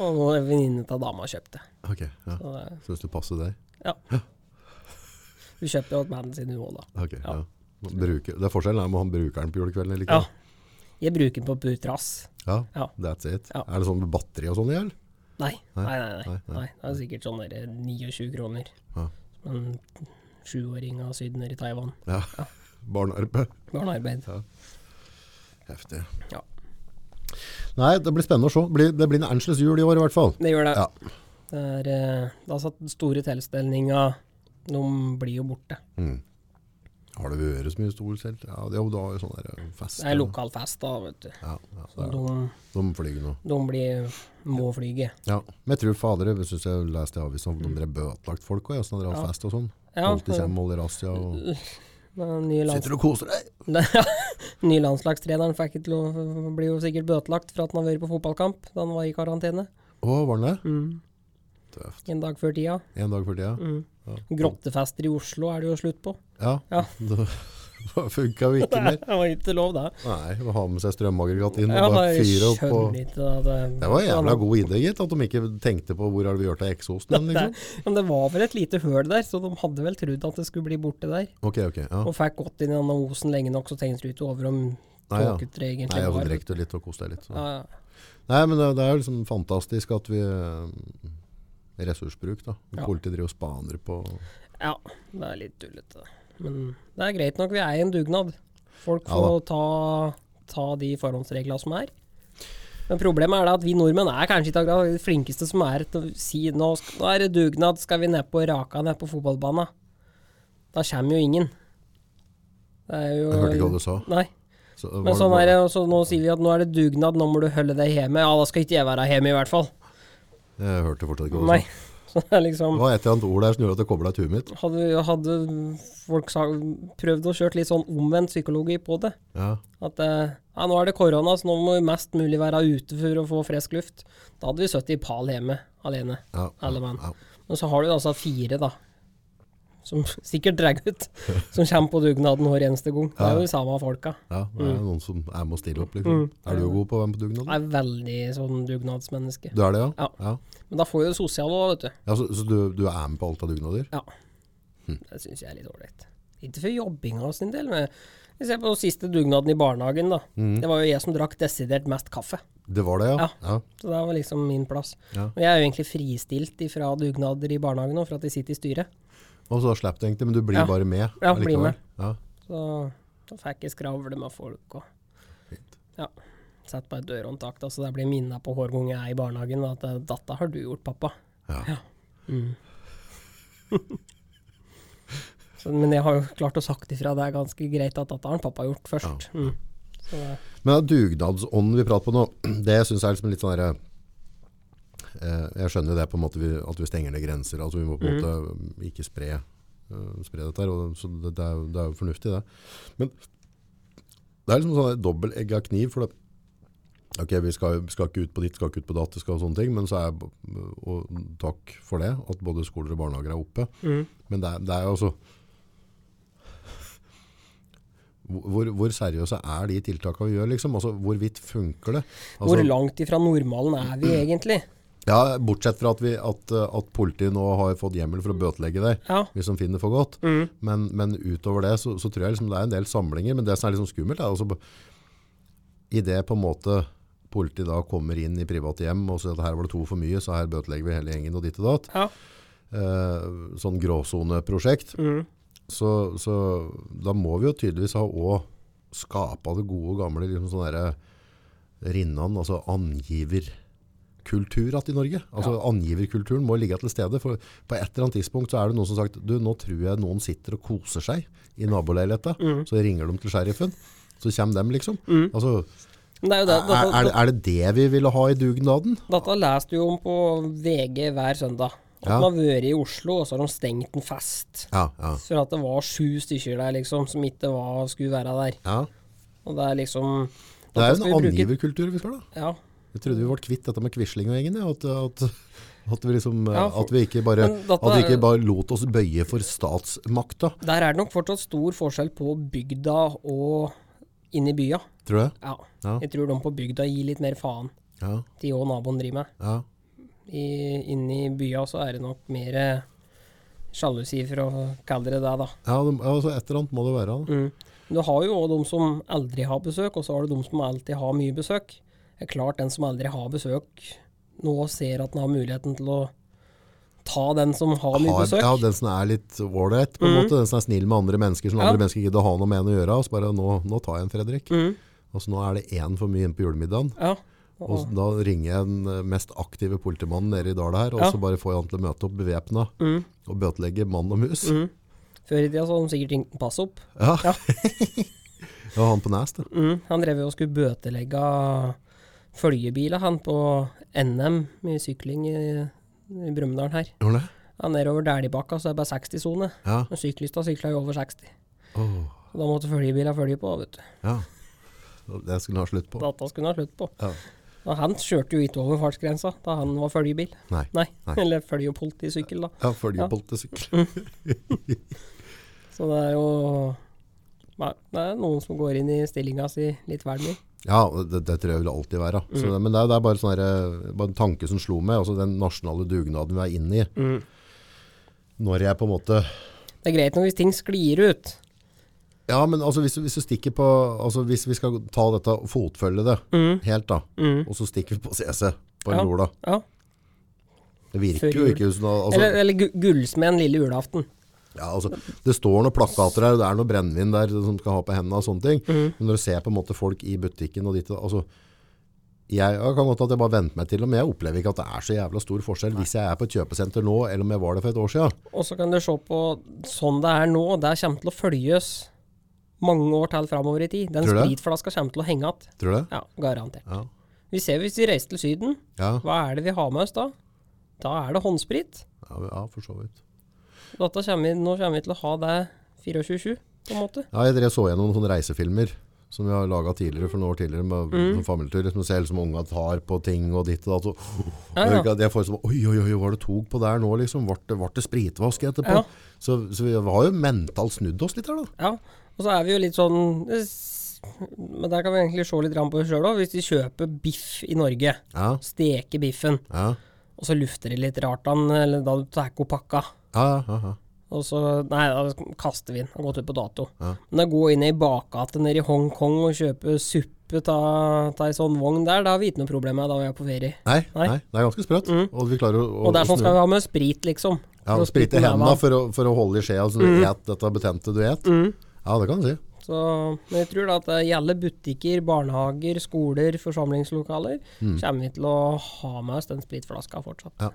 Og nå er venninnen til dama kjøpt det. Ok, ja. Så det- Syns du passer deg? Ja. Hun kjøper jo banden sin, hun òg, da. Ok, ja. Ja. Man Bruker, det er forskjellen er om han bruker den på julekvelden eller Ja. ikke. Jeg bruker den på putrass. Ja. Ja. That's it. Ja. Er det sånn med batteri og sånn i hjel? Nei, nei, nei. nei, nei, nei, nei. Det er sikkert sånn der 29 kroner. Ja. Som en sjuåring av Syden eller i Taiwan. Ja. Barnearbeid. Barnearbeid. Heftig. Ja. Nei, det blir spennende å se. Det blir, det blir en Angeles jul i år i hvert fall. Det gjør det. Ja. Det er, eh, da satt den store tilstelninga De blir jo borte. Har det vært så mye stor selv? Ja, det er jo da sånn der fest. Det er lokalfest, da, vet du. Ja, ja, det Så er det. de, de flyger nå. de blir, må flyge. Ja, men jeg tror fader, jeg synes jeg leste i avisen om de drev bøtlagt folk også, ja, sånn dere har Ja. fest og sånn. Ja, Alltid kommer og holder razzia og Den nye, lands sitter og koser deg. nye landslagstreneren fikk ikke lov, blir jo sikkert bøtelagt for at han har vært på fotballkamp da han var i karantene. Å, var den det? Mm. Tøft. En dag før tida. En dag for tida? Mm. Grottefester i Oslo er det jo slutt på. Ja. Ja. Da, da funka jo ikke Det mer. var ikke lov, det. Nei, å ha med seg strømaggregat inn Ja, og bare jeg fyre opp skjønner og ikke at eh, det, Det var en jævla god idé, gitt, at de ikke tenkte på hvor har vi gjort av eksosen hen, liksom. Men det var vel et lite høl der, så de hadde vel trodd at det skulle bli borte der. Ok, ok. Ja. Og fikk gått inn i denne osen lenge nok, så tenkte du ikke over om Nei, ja. tåkete egentlig Nei, jeg var. har drukket litt og kost deg litt. Så. Ja, ja. Nei, men det, det er jo liksom fantastisk at vi eh, Ressursbruk, da. Ja. Politiet driver og spaner på Ja, det er litt tullete. Men det er greit nok, vi er i en dugnad. Folk Ja får ta, ta de forhåndsreglene som er. Men problemet er da at vi nordmenn er kanskje ikke akkurat de flinkeste som er til å si nå, sk- nå er det dugnad, skal vi ned på Raka, ned på fotballbanen. Da kommer jo ingen. Det er jo Jeg hørte ikke hva du sa. Nei. Så, Øh, Men sånn er det, og så nå sier vi at nå er det dugnad, nå må du holde deg hjemme. Ja, da skal ikke jeg være hjemme i hvert fall. Jeg hørte fortsatt ikke hva Nei. du sa. Så det er liksom Det var et eller annet ord der som gjorde at det kobla til huet mitt. hadde, hadde folk sa, prøvd å kjøre litt sånn omvendt psykologi på det. Ja. At eh, ja, nå er det korona, så nå må vi mest mulig være ute for å få frisk luft. Da hadde vi sittet i pal hjemme alene. Ja, Alle mann. ja. Men så har du altså fire, da. Som sikkert drar ut. Som kommer på dugnaden hver eneste gang. Det er jo de samme folka. ja, det Mm. er noen som er med å stille opp, liksom. Er du god på å være med på dugnad? Jeg er veldig sånn dugnadsmenneske. Du er det, ja? Ja. Men da får jo det sosiale òg, vet du. Ja, så, så du, du er med på alt av dugnader? Ja. Hm. Det syns jeg er litt ålreit. Ikke for jobbinga sin del, men vi ser på den siste dugnaden i barnehagen, da. Mhm. Det var jo jeg som drakk desidert mest kaffe. Det var det, ja? Ja. ja. Så det var liksom min plass. Ja. Og jeg er jo egentlig fristilt ifra dugnader i barnehagen nå, for at de sitter i styret. Og så slapp du egentlig, men du blir Ja. bare med? Ja, blir allikevel. med. Ja. Så da fikk jeg skravle med folk og Fint. ja. Sett på et dørhåndtak, da, så jeg blir minna på hver gang jeg er i barnehagen at eh, 'dette har du gjort, pappa'. Ja. Så, men jeg har jo klart å sagt ifra. Det er ganske greit at 'dette har han pappa gjort' først. Mm. Så det- Men den dugnadsånden vi prater på nå, det syns jeg er liksom litt sånn derre eh, Jeg skjønner jo det på en måte vi, at vi stenger ned grenser. Altså vi må på en måte ikke spre, eh, spre dette her. Og, så det, det, er, jo- det er jo fornuftig, det. Men det er liksom sånn der dobbeltegga kniv. For det, ok, vi skal, vi skal ikke ut på ditt, skal ikke ut på datt, skal sånne ting. Men så er Og takk for det, at både skoler og barnehager er oppe. Men det, er- det er jo altså hvor, hvor seriøse er de tiltakene vi gjør, liksom? Altså, hvorvidt funker det? Altså, hvor langt ifra normalen er vi egentlig? Ja, bortsett fra at, vi, at, eh, at politiet nå har fått hjemmel for å bøtelegge deg, Ja. Mm. hvis de finner det for godt. Men, men utover det så, så tror jeg liksom det er en del samlinger, men det som er liksom skummelt er altså b- i det på en måte politiet da kommer inn i private hjem og sier at her var det to for mye, så her bøtelegger vi hele gjengen og ditt og datt. Ja. Eh, sånn gråsoneprosjekt. Mm. Så, så da må vi jo tydeligvis ha også skapet det gode gamle liksom sånn derre rinnan, altså angiverkultur at i Norge. Altså Angiverkulturen må ligge til stede. For på et eller annet tidspunkt så er det noen som har sagt du, nå tror jeg noen sitter og koser seg i naboleiligheta. Mm. Så ringer de til sheriffen. Så kommer dem, liksom. Altså, Men det er jo det. er, dette- er, er det det vi ville ha i dugnaden? Dette leser du jo om på VG hver søndag. At Ja. man har vært i Oslo, og så har de stengt en fest. Ja, ja. For at det var sju stykker der liksom, som ikke var, skulle være der. ja. Og det er liksom Det er Dette jo en skal vi bruke- angiverkultur vi skal ha. Ja. Jeg trodde vi ble kvitt dette med Quisling og gjengen. ja, At, at, at, vi liksom, eh, Ja, for- at vi ikke bare, Men dette at vi er- ikke bare lot oss bøye for statsmakta, Der er det nok fortsatt stor forskjell på bygda og inne i bya. tror jeg. Ja. Ja. Jeg tror de på bygda gir litt mer faen Ja, til hva naboen driver med. ja. I, inne i bya så er det nok mer eh, sjalusi, for å kalle det det, da. Ja, det, altså et eller annet må det være. Da. Men du har jo òg de som aldri har besøk, og så har du de som alltid har mye besøk. Det er klart den som aldri har besøk, nå ser at den har muligheten til å ta den som har mye Har, besøk. Mm. ja, den som er litt ålreit, på en måte. Den som er snill med andre mennesker, som Ja. andre mennesker gidder å ha noe med en å gjøre. Og så bare, nå, nå tar jeg en Fredrik. Mm. Altså, nå er det én for mye inn på julemiddagen. Ja. Og så da ringer jeg den eh, mest aktive politimannen nede i Dala her, og Ja. Mm. så bare får jeg han til å møte opp bevæpna og bøtelegge mann og mus. Før i tida så hadde de sikkert ringt pass opp. Ja. Mm. Ja. ja, han på Næs, det. Mm. Han drev jo og skulle bøtelegge følgebiler, han, på NM i sykling i, i Brumunddal her. Gjorde han det? Han nedover Dæhlibakka, så er det bare 60-sone. Ja. Men syklista sykla jo over 60. Åh, Så da måtte følgebiler følge på, vet du. ja. Det skulle han ha slutt på. Data skulle han ha slutt på. Ja. Og han kjørte jo ikke over fartsgrensa da han var følgebil. Nei. Nei, Nei. eller følge- og politisykkel, da. Ja, følgepolitisykkel. Så det er jo Nei, det er noen som går inn i stillinga si litt vel mye. Ja, det, det tror jeg vil alltid være. Mm. Så, det- men det, er- det er bare, sånn her, bare en tanke som slo meg, altså den nasjonale dugnaden vi er inne i. Mm. Når jeg på en måte Det er greit nok hvis ting sklir ut. Ja, men altså hvis, hvis du stikker på altså Hvis vi skal ta dette og fotfølge det helt, da, og så stikker vi på CC på en Mm. Ja. jorda Ja. Det Før virker jo jul. ikke som altså, Eller, eller gu- gullsmeden lille julaften. Ja, altså, det står noen plakater her, og det er noe brennevin der som skal ha på hendene og sånne ting. Men når du ser på en måte folk i butikken og ditt, altså, jeg, jeg kan godt at jeg bare venter meg til, men jeg opplever ikke at det er så jævla stor forskjell hvis jeg er på et kjøpesenter nå, eller om jeg var det for et år siden. Og så kan du se på sånn det er nå. Det kommer til å følges mange år til framover i tid. Den Tror du det? spritflaska kommer til å henge igjen. Tror du det? Ja, garantert. Ja. Vi ser hvis vi reiser til Syden, Ja, hva er det vi har med oss da? Da er det håndsprit. ja, ja for så vidt. Dette kommer vi, nå kommer vi til å ha det 24-7, på en måte. Ja, jeg drev så gjennom noen sånne reisefilmer som vi har laget tidligere, for noen år tidligere, med Mm. sånn familietur, som ser liksom unga tar på ting og ditt og datt. og- Ja, og ja. ikke at Jeg får sånn, oi, oi, oi, var det tog på der nå, liksom? Vart det, vart det spritvask etterpå? Ja. Så, så vi har jo mentalt snudd oss litt her, da. Ja, og så er vi jo litt sånn s- Men der kan vi egentlig se litt grann på oss sjøl òg. Hvis vi kjøper biff i Norge, Ja, steker biffen, ja, og så lufter det litt rart da den, eller da du tar pakka ja, ja, ja. Og så, nei, da kaster vi den. Den har gått ut på dato. Men å gå inn i bakgata nede i Hongkong og kjøpe suppe av ei sånn vogn der, da har vi ikke noe problem med. Da var jeg på ferie. Nei, Nei. Mm. nei. det er ganske sprøtt. Og vi klarer å, å, Og det er å sånn snu. skal vi ha med sprit, liksom. ja, For å sprite spytte hendene neva. for å, for å holde i skjea så du Mm. et dette betente du et. Ja, det kan du si. Så, men jeg tror da at i alle butikker, barnehager, skoler, forsamlingslokaler kommer vi til å ha med oss den spritflaska fortsatt. Mm. Ja.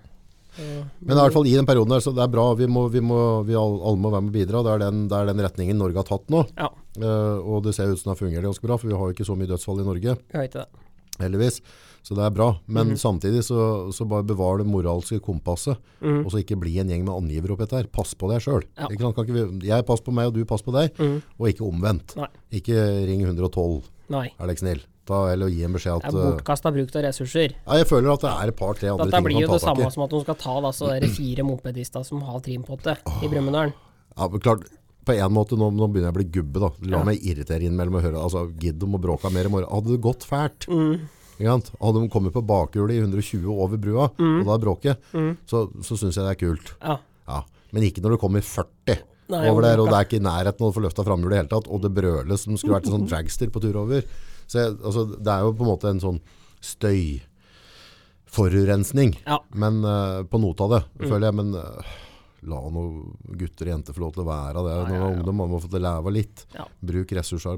Men i hvert fall i den perioden der, så det er bra. Vi, må, vi, må, vi all- alle må være med og bidra. Det er den, det er den retningen Norge har tatt nå. Ja, Eh, og det ser ut som det har fungert ganske bra, for vi har jo ikke så mye dødsfall i Norge, vi har ikke det. heldigvis. Så det er bra. Men Mhm. samtidig så, så bare bevar det moralske kompasset, og så ikke bli en gjeng med angivere oppi dette her. Pass på deg sjøl. Mhm. Ja. Mhm. Jeg passer på meg, og du passer på deg, og ikke omvendt. Nei. Ikke ring 112. Nei. Er det ikke snill? Ta, eller gi en beskjed Det at er uh, bortkasta bruk av ressurser. ja, Jeg føler at det er et par-tre andre Dette ting blir man jo det tar tak samme i. som at de skal ta da, så der fire mopedister som har trimpotte i Brumunddal. Ja, men klart, på en måte, nå, nå begynner jeg å bli gubbe, da. La meg irritere innimellom og høre altså, Gidd om å bråke mer i morgen. Hadde det gått fælt ikke sant? Hadde de kommet på bakhjulet i 120 over brua, og da bråket, så, så syns jeg det er kult. Ja. Ja. Men ikke når det kommer 40 Nei, over der, overbruka. og det er ikke i nærheten av å få løfta framhjulet i det hele tatt, og det brøles som skulle vært en sånn dragster på tur over. Så jeg, altså, det er jo på en måte en sånn støy forurensning, Ja. men eh, på noe av det, føler jeg, men eh, la noen gutter og jenter få lov til å være det. Når man er ungdom, man må få til å leve litt. Ja. Bruk ressurser.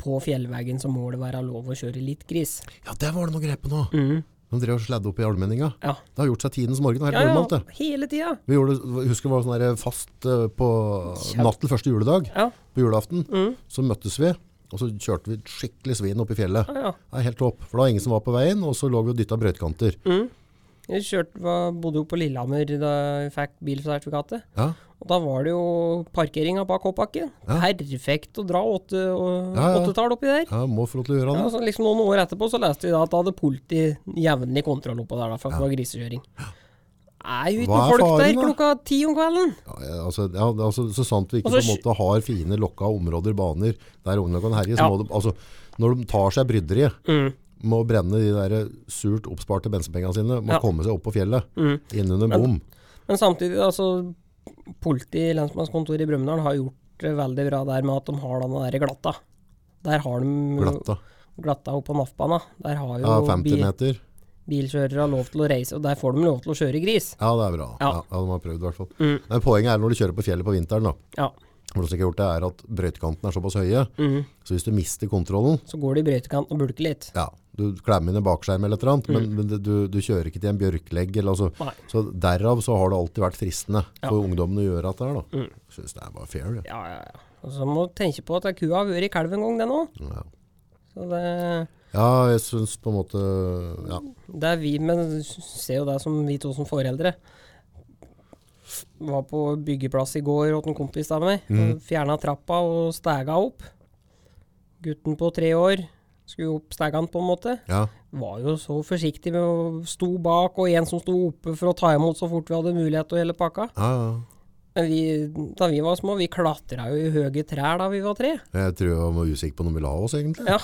På fjellveggen så må det være lov å kjøre litt gris. Ja, der var det noe grep på nå! Mm. De drev og sledde opp i allmenninga. Ja. Det har gjort seg tidens morgen, det er helt Ja, normalt ja, det. hele tida. Vi gjorde, jeg husker det var sånn der fast eh, på natt til første juledag. Ja. På julaften. Mm. Så møttes vi, og så kjørte vi et skikkelig svin opp i fjellet. ja. Det er helt topp. For det var ingen som var på veien, og så lå vi og dytta brøytekanter. Mm. Jeg kjørte, var, bodde jo på Lillehammer da jeg fikk bilsertifikatet. Ja. Og da var det jo parkeringa bak hoppbakken. Perfekt å dra åtte- og- Ja, ja. åttetall oppi der. ja, må få lov til å gjøre Ja, det. så liksom noen år etterpå så leste vi da at da hadde politiet jevnlig kontroll oppå der da, for at det var grisekjøring. Er jo ikke Hva noe er folk der faren, da? klokka ti om kvelden. Ja, ja, altså, ja, det er altså, så sant vi ikke Og så på en måte har fine lokka områder, baner, der ungene kan herje, så Ja. Mm. må de, altså, når de tar seg bryderiet med å brenne de der surt oppsparte bensepengene sine, må Ja. Mm. komme seg opp på fjellet, innunder bom. Men samtidig, da, så politi, lensmannskontoret i Brumunddal har gjort det veldig bra der med at de har den der glatta. Der har de Glatta. glatta oppå NAF-bana. Der har jo Ja, 50 bil, meter. bilkjørere lov til å reise, og der får de lov til å kjøre gris. Ja, det er bra. Ja, Ja. ja de har prøvd i hvert fall. Mm. Men poenget er når du kjører på fjellet på vinteren, da. Ja. For det som ikke har gjort det, er at brøytekantene er såpass høye, Mm. så hvis du mister kontrollen, Så går de i brøytekanten og bulker litt. ja, du klemmer inn en bakskjerm eller et eller annet, men, men det- du, du kjører ikke til en bjørklegg, eller altså. Mm. Nei. Så derav så har det alltid vært fristende for ungdommen å gjøre dette her, da. Mm. Synes det er bare fair, ja. Ja, ja, ja. Og så må du tenke på at ei ku har vært i kalv en gang, den òg. Ja. Så det, ja, jeg synes på en måte, ja. det er vi, men du ser jo det som vi to som foreldre. Var på byggeplass i går hos en kompis av meg. og Fjerna trappa og stega opp. Gutten på tre år skulle opp stegaen, på en måte. Ja, var jo så forsiktig med å sto bak, og en som sto oppe for å ta imot så fort vi hadde mulighet og hele pakka. ja, ja. Men vi, da vi var små, vi klatra jo i høye trær da vi var tre. Jeg tror jeg var usikker på noe vi la oss, egentlig. Ja,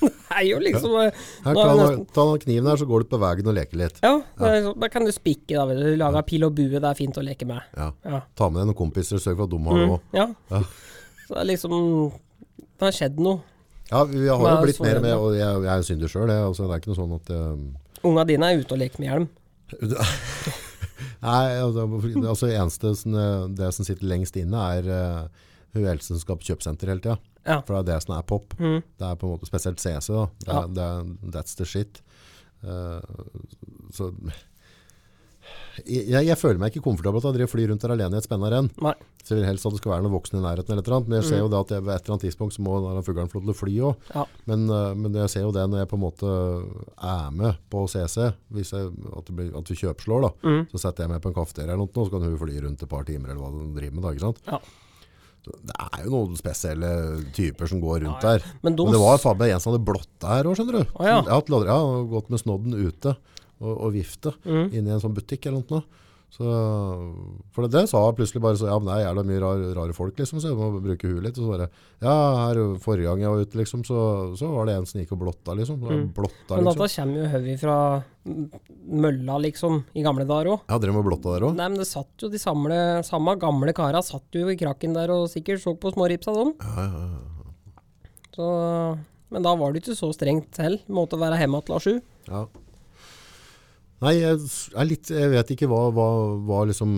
det er jo liksom eh, Her, nå ta, er vi den- nesten, ta den kniven her, så går du på vegen og leker litt. ja, det er liksom- da kan du spikke, da. vet du. Lage pil og bue, det er fint å leke med. Ja. Ja. Ta med deg noen kompiser og sørg for at de har det Mm, også. ja. Ja. Så det er liksom Det har skjedd noe. Ja, vi har jo Hva er blitt mer svaret med, da? og jeg, jeg er en synder sjøl. Altså, det er ikke noe sånn at eh, Unga dine er ute og leker med hjelm. Nei, altså, hvorfor- altså det eneste som, eh, det som sitter lengst inne, er eh, hun eldste som skal på kjøpesenter hele tida. Ja. For det er det som er pop. Mhm. Det er på en måte spesielt CC, da. Det er, Ja. det er, that's the shit. Eh, så jeg, jeg føler meg ikke komfortabel til å drive og fly rundt her alene i et spenna renn. Nei. Så jeg vil helst at det skal være noen voksne i nærheten, eller et eller annet, men jeg ser jo det at jeg, ved et eller annet tidspunkt så må denne fuglen få lov til å fly òg. Ja. Men, eh, men jeg ser jo det når jeg på en måte er med på CC, hvis jeg, at, det blir, at vi kjøpslår, da. Mm. så setter jeg meg på en kafeteria eller noe, så kan hun fly rundt et par timer eller hva hun driver med. da, ikke sant? Ja. Så Det er jo noen spesielle typer som går rundt Ja, ja. der. Men de Men det var faen meg en som hadde blotta her òg, skjønner du. Å, ja. Jeg hadde ja, han hadde gått med snodden ute og, og vifte Mhm. inne i en sånn butikk eller noe. Så, for det, det sa jeg plutselig bare så, ja, men det er jævla mye rar, rare folk, liksom, så jeg må bruke huet litt. Og så bare, ja, her forrige gang jeg var ute, liksom, så, så var det en som gikk og blotta, liksom. Mhm. Blotta, Men dette liksom. kommer jo høvig fra m- mølla, liksom, i gamle dager òg. Ja, drev med blotta der òg? Nei, men det satt jo de samle, samme gamle kara satt jo i krakken der og sikkert så på småripsa dem. Ja, ja, ja. Så, men da var det ikke så strengt selv. Måtte være hjemme til sju. Ja. Nei, jeg, s- er litt, jeg vet ikke hva, hva, hva liksom,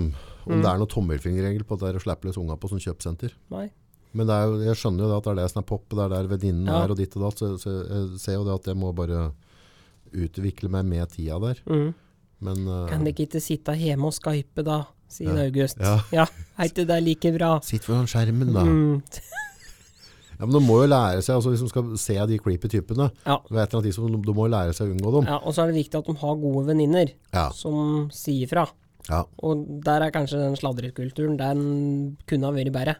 om Mm. det er noen tommelfingerregel på at det er å slippe løs unga på sånn kjøpesenter. Nei. Men det er, jo- jeg skjønner jo det at det er det som er pop, og det er der venninnen Ja. er og ditt og datt, så, så jeg ser jo det at jeg må bare utvikle meg med tida der. Mm. Men eh, Kan dere ikke sitte hjemme og skype, da? Sier August. Ja. ja er ikke det like bra? sitt foran skjermen da. Mm. Ja, men de må jo lære seg, altså hvis de skal se de creepy typene, Ja. ved et eller annet tidspunkt, de, de må jo lære seg å unngå dem. ja. Og så er det viktig at de har gode venninner Ja. som sier fra. Ja. Og der er kanskje den sladrekulturen, den kunne ha vært bedre.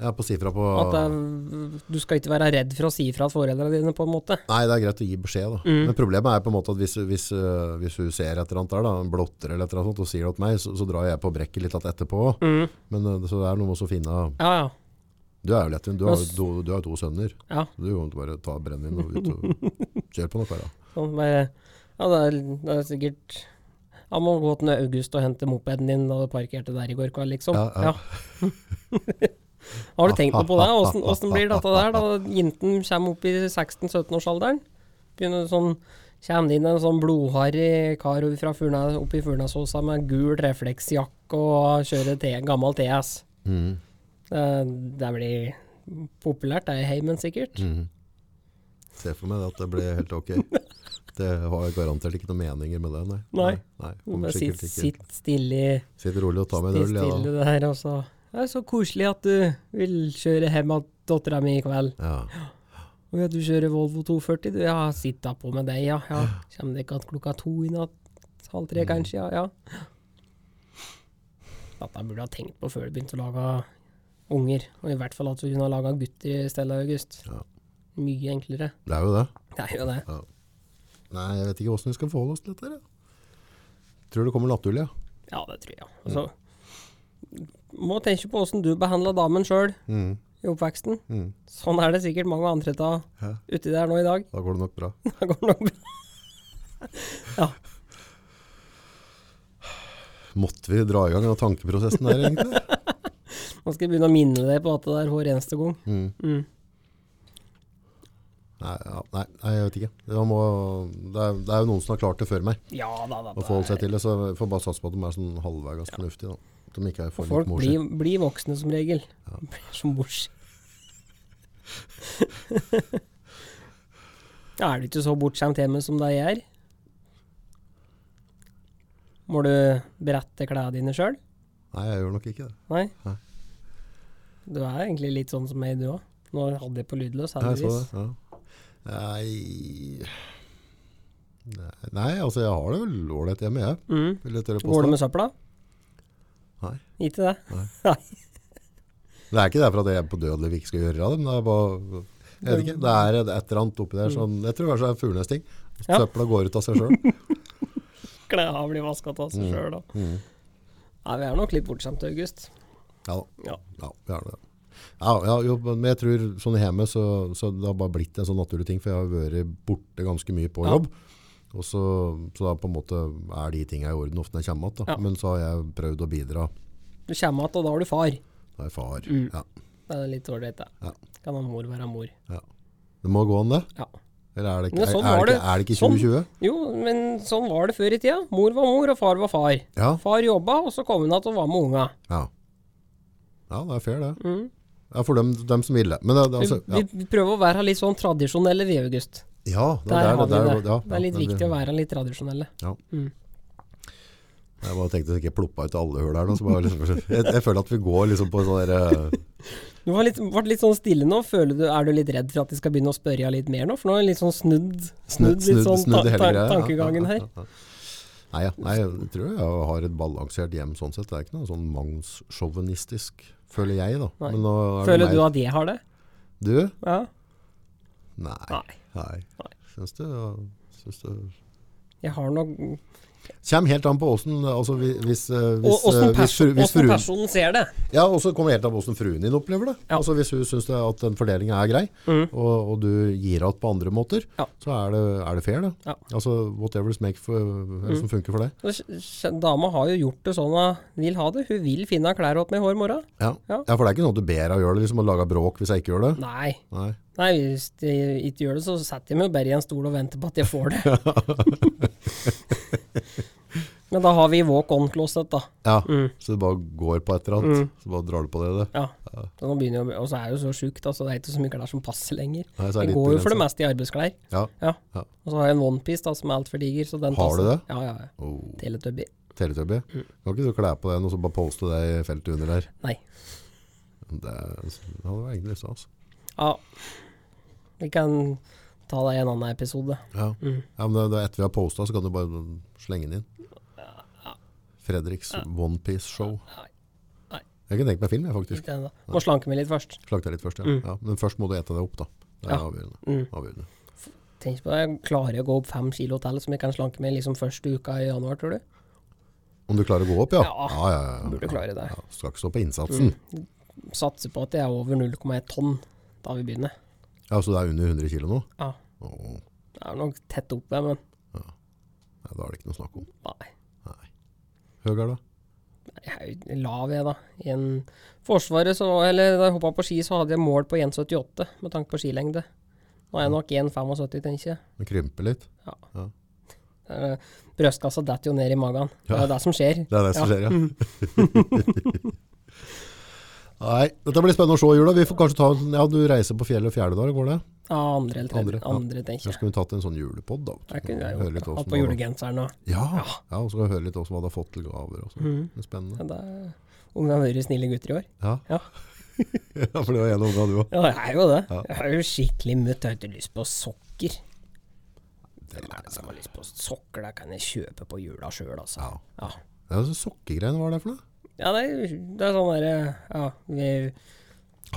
Jeg er på sifra på... At det er, du skal ikke være redd for å si fra til foreldrene dine, på en måte. Nei, det er greit å gi beskjed, da. Mm. Men problemet er på en måte at hvis, hvis, øh, hvis hun ser et eller annet der, da, en blotter eller et eller annet sånt, og sier det til meg, så, så drar jeg på brekket litt att etterpå. Mm. Men øh, så det er noe med å finne av- Ja, ja. Du er jo lettvint. Du, har jo to- du har jo to sønner. Ja. Du kan jo bare ta brennevin og ut og kjøre på noe. her, Da. Sånn bare, ja, det er, det er sikkert Han må gå til August og hente mopeden din da du parkerte der i går kveld, liksom. Ja, ja. har du tenkt noe på det? Åssen- Åssen blir dette der? Da jenten kommer opp i 16-17-årsalderen. Begynner sånn Kommer det inn en sånn blodharry kar fra Furnes, opp i Furnasåsa med gul refleksjakke og kjører T- gammel TS. Mhm. Det, det blir populært, det er i heimen sikkert. Mm, Se for meg det at det blir helt ok. Det har jeg garantert ikke noen meninger med det, nei. nei Nei. Bare kommer sitt, sikkert ikke. sitt stille i Sitt rolig og ta med en Stil øl, jeg, stille der, og så altså. Det er så koselig at du vil kjøre hjem til dattera mi i kveld. da. Ja. Og at du kjører Volvo 240, du. Ja, sitt da på med deg, ja. ja. Kommer det ikke at klokka to i natt? Halv Mm. tre, kanskje? Ja. ja. Dette burde jeg ha tenkt på før du begynte å lage unger. Og i hvert fall at du kunne ha laga gutter i stedet, August. Ja. Mye enklere. Det er jo det. Det er jo det. Nei, jeg vet ikke hvordan vi skal forholde oss til dette. Jeg. Tror det kommer naturlig, ja. Ja, det tror Mm. jeg. Altså, må tenke på åssen du behandla damen sjøl i oppveksten. Mm. Sånn er det sikkert mange andre ta Ja. uti der nå i dag. Da går det nok bra. Da går det nok bra. ja. Måtte vi dra i gang den tankeprosessen der, egentlig? Nå skal jeg begynne å minne deg på at det er hver eneste gang. Nei, ja, nei, nei jeg vet ikke. Det, må, det, er, det er jo noen som har klart det før meg. Ja da, da. Å forholde seg til det, så jeg får bare satse på at de er sånn halvveis fornuftige. Da. At de ikke er for Folk litt morsomme. blir, blir voksne som regel. Blir så morsomme. er du ikke så bortskjemt hjemme som deg er? Må du brette klærne dine sjøl? Nei, jeg gjør nok ikke det. Nei? Nei. Du er egentlig litt sånn som meg, du òg. Nå hadde jeg på lydløs, Ja, Jeg så heldigvis. det. Ja. Nei Nei, Nei, altså jeg har det vel ålreit hjemme, jeg. Mm. Vil jeg tørre å Går det påstå. med søpla? Nei. Ikke det? Det er ikke derfor at jeg på dødelig ikke skal gjøre av det, men det er bare jeg vet ikke, det er et et eller annet oppi der. Sånn, jeg tror kanskje det er fuglenes ting. Mm. Ja. Søpla går ut av seg sjøl. Klærne blir vaska av seg sjøl, da. Mm. Nei, vi er nok litt bortskjemte, August. Ja da. Ja. Ja, vi har det. Ja, ja, jo, men jeg tror sånn hjemme så, så det har bare blitt en sånn naturlig ting, for jeg har vært borte ganske mye på Ja. jobb. Og så, så da på en måte er de tingene i orden ofte når jeg kommer igjen. da. Ja. Men så har jeg prøvd å bidra. Du kommer igjen, og da har du far. Da er jeg far. Mm. Ja. Det er litt ålreit, det. Ja. Kan ha mor være mor. Det må gå an, det? Ja. Eller er det ikke, Men sånn er, var er det det. ikke, er det ikke Sånn. 2020? Jo, men sånn var det før i tida. Mor var mor, og far var far. Ja. Far jobba, og så kom hun igjen og var med unga. ja. Ja, det er fair, det. Mm. Ja, For dem, dem som ville. Men det, det, Vi, altså, ja. vi- vi prøver å være litt sånn tradisjonelle, vi, August. ja, det, Der er har vi er- det. ja, Det er litt ja, viktig å være litt tradisjonelle. Jeg bare tenkte at jeg ikke ploppa ut alle hull her nå. Så bare liksom, jeg, jeg føler at vi går liksom på sånn derre Du har litt, vært litt sånn stille nå. Føler du, er du litt redd for at de skal begynne å spørre deg litt mer nå? For nå er det litt sånn snudd, snudd, litt sånn ta, hele ta, greia. Ja, tankegangen ja, her. ja, ja. Nei, ja. Nei, jeg tror jeg har et balansert hjem sånn sett. Det er ikke noe sånn mangssjåvinistisk, føler jeg da. Nei. Men nå er det Føler meg- du at jeg har det? Du? Ja. Nei. Nei. Nei. Nei. Syns du? Ja, syns du? Jeg har nok Kjem helt an på åssen altså, hvi- hvis, eh, hvis, Og eh, åssen hvis, fru- hvis person, fruen personen ser det. Ja, og så kommer det helt an på hvordan fruen din opplever det. Ja. Mm. Altså Hvis hun syns det- at den fordelingen er grei, og, og du gir att på andre måter, Ja. så er det, er det fair, det. Ja. Mm. Altså whatever's make for, eller som funker for deg. Og kj- kj- Dama har jo gjort det sånn at hun vil ha det. Hun vil finne klær åt meg hver morgen. Ja. Ja. ja, for det er ikke sånn at du ber deg å gjøre det, liksom å lage bråk hvis jeg ikke gjør det. Nei. Nei. Nei, hvis de ikke gjør det, så setter jeg meg jo bare i en stol og venter på at jeg får det. Men da har vi walk on closet, da. Ja, så du bare går på et eller annet, så bare drar du på det. det. Mm. Ja. Så nå begynner jeg, å- og så er det jo så sjukt, altså. Det er ikke så mye klær som passer lenger. Nei, så er Jeg det går jo litt for det begrenset. meste i arbeidsklær. Ja. Ja. Ja. Og så har jeg en onepiece da, som er altfor diger. Så den Har du passer. det? Ja, ja. ja. Oh, Teletubby. Teletubby. Mm. Kan ikke du kle på deg noe og så bare poste det i feltet under der? Nei. Det, er- altså, det hadde vært egentlig altså. stas. Ja. Vi kan ta det i en annen episode. Ja. Mm. ja, men det, det er etter vi har posta, så kan du bare slenge den inn. Fredriks Onepiece-show. Nei. Nei. Jeg kunne tenkt meg film, jeg, Ikke faktisk. ennå. Må slanke meg litt først. Slakt deg litt først, ja. ja. Men først må du ete deg opp, da. Det er Mm. Ja. Mm. avgjørende. avgjørende. Tenk på det, jeg klarer å gå opp fem kilo til som jeg kan slanke med liksom første uka i januar, tror du? Om du klarer å gå opp, ja? Ja. ja, ja, ja. Burde klare Mm. det. Ja, skal ikke stå på innsatsen. Satser på at jeg er over 0,1 tonn da vi begynner. Ja, Så det er under 100 kilo nå? Ja, Åh, det er nok tett oppe, men nei, da er det ikke noe snakk om. nei. Høy er det? Jeg er jo lav, jeg, da. I en forsvaret, så Eller da jeg hoppa på ski, så hadde jeg mål på 1,78 med tanke på skilengde. Nå er jeg nok 1,75, tenker jeg. Den krymper litt. Eh, Brystkassa detter jo ned i magen. Det er Ja. jo det som skjer. Det er det som skjer, ja. Mm. Nei, dette blir spennende å se i jula. Vi får kanskje ta Ja, du reiser på fjellet og fjerde dag, går det? Ja, andre eller tredje. Andre, ja. Andre, Så tenker jeg. skulle vi tatt en sånn julepod, da. Det kunne jeg Høre litt gjort. hvordan Hatt det på var. julegenseren og Ja, ja og så skal vi høre litt hvordan man hadde fått til gaver og sånn. Det er spennende. ja, det er- Ungene har vært snille gutter i år. Ja. Mm. Ja. ja, for det var en unge av du òg. Ja, det er jo det. Ja. Jeg har jo skikkelig mutt. Jeg har ikke lyst på sokker. Hvem er det som har lyst på sokker? Det kan jeg kjøpe på jula sjøl, altså. Ja. sånn. Ja, så Sokkegreiene, hva er det for noe? Ja, det er, det er sånn derre Ja, vi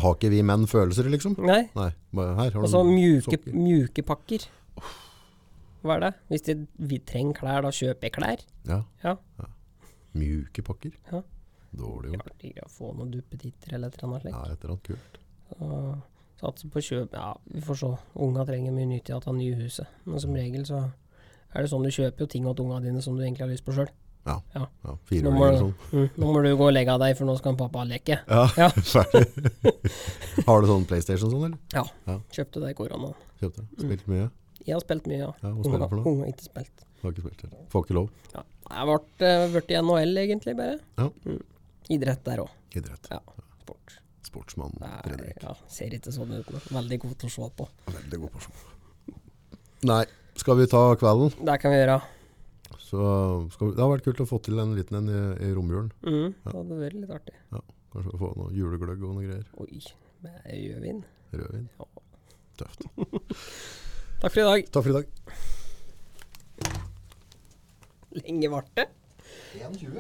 Har ikke vi menn følelser, liksom? Nei. Nei. Bare her har Og så Altså, mjuke, sokker. mjuke pakker. Hva er det? Hvis de, vi trenger klær, da kjøper jeg klær. Ja. Ja. Mjuke pakker. Ja. Dårlig gjort. Artigere å få noen duppetitter eller et eller annet slikt. Ja, et eller annet kult. Så Satser på kjøp Ja, vi får se. Unga trenger mye nyttig at han er ny i huset. Men som regel så er det sånn du kjøper jo ting åt unga dine som du egentlig har lyst på sjøl. Ja, Ja. ja Nå fire år må, eller du, sånn. mm, nå må du gå og legge av deg, for nå skal pappa leke. Ja, Ja. ferdig. Har du sånn Playstation sånn, eller? Ja. Ja. Kjøpte det i koronaen. Kjøpt det? Mm. Spilt mye? Jeg har spilt mye, ja. Ja, hva spiller du for noe? Unge har ikke spilt. Har ikke spilt det. Får ikke lov. Ja. Jeg ble, eh, ble i NHL, egentlig, bare. Ja. Mm. Idrett der òg. Idrett. Ja. Sport. Sportsmann Det er- Fredrik. ja, ser ikke sånn ut, men veldig god til å se på. Veldig god person. Nei, skal vi ta kvelden? Det kan vi gjøre. Så skal vi, det har vært kult å få til en liten en i, i romjulen. Mm. Det hadde vært litt artig. Ja, kanskje få noe julegløgg og noe greier. Oi, med rødvin. Rødvin. Ja. Tøft. Takk for i dag. Takk for i dag. Lenge varte det. 1,20.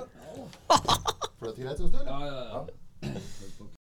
Fløt greit, syns du? Ja, ja, ja.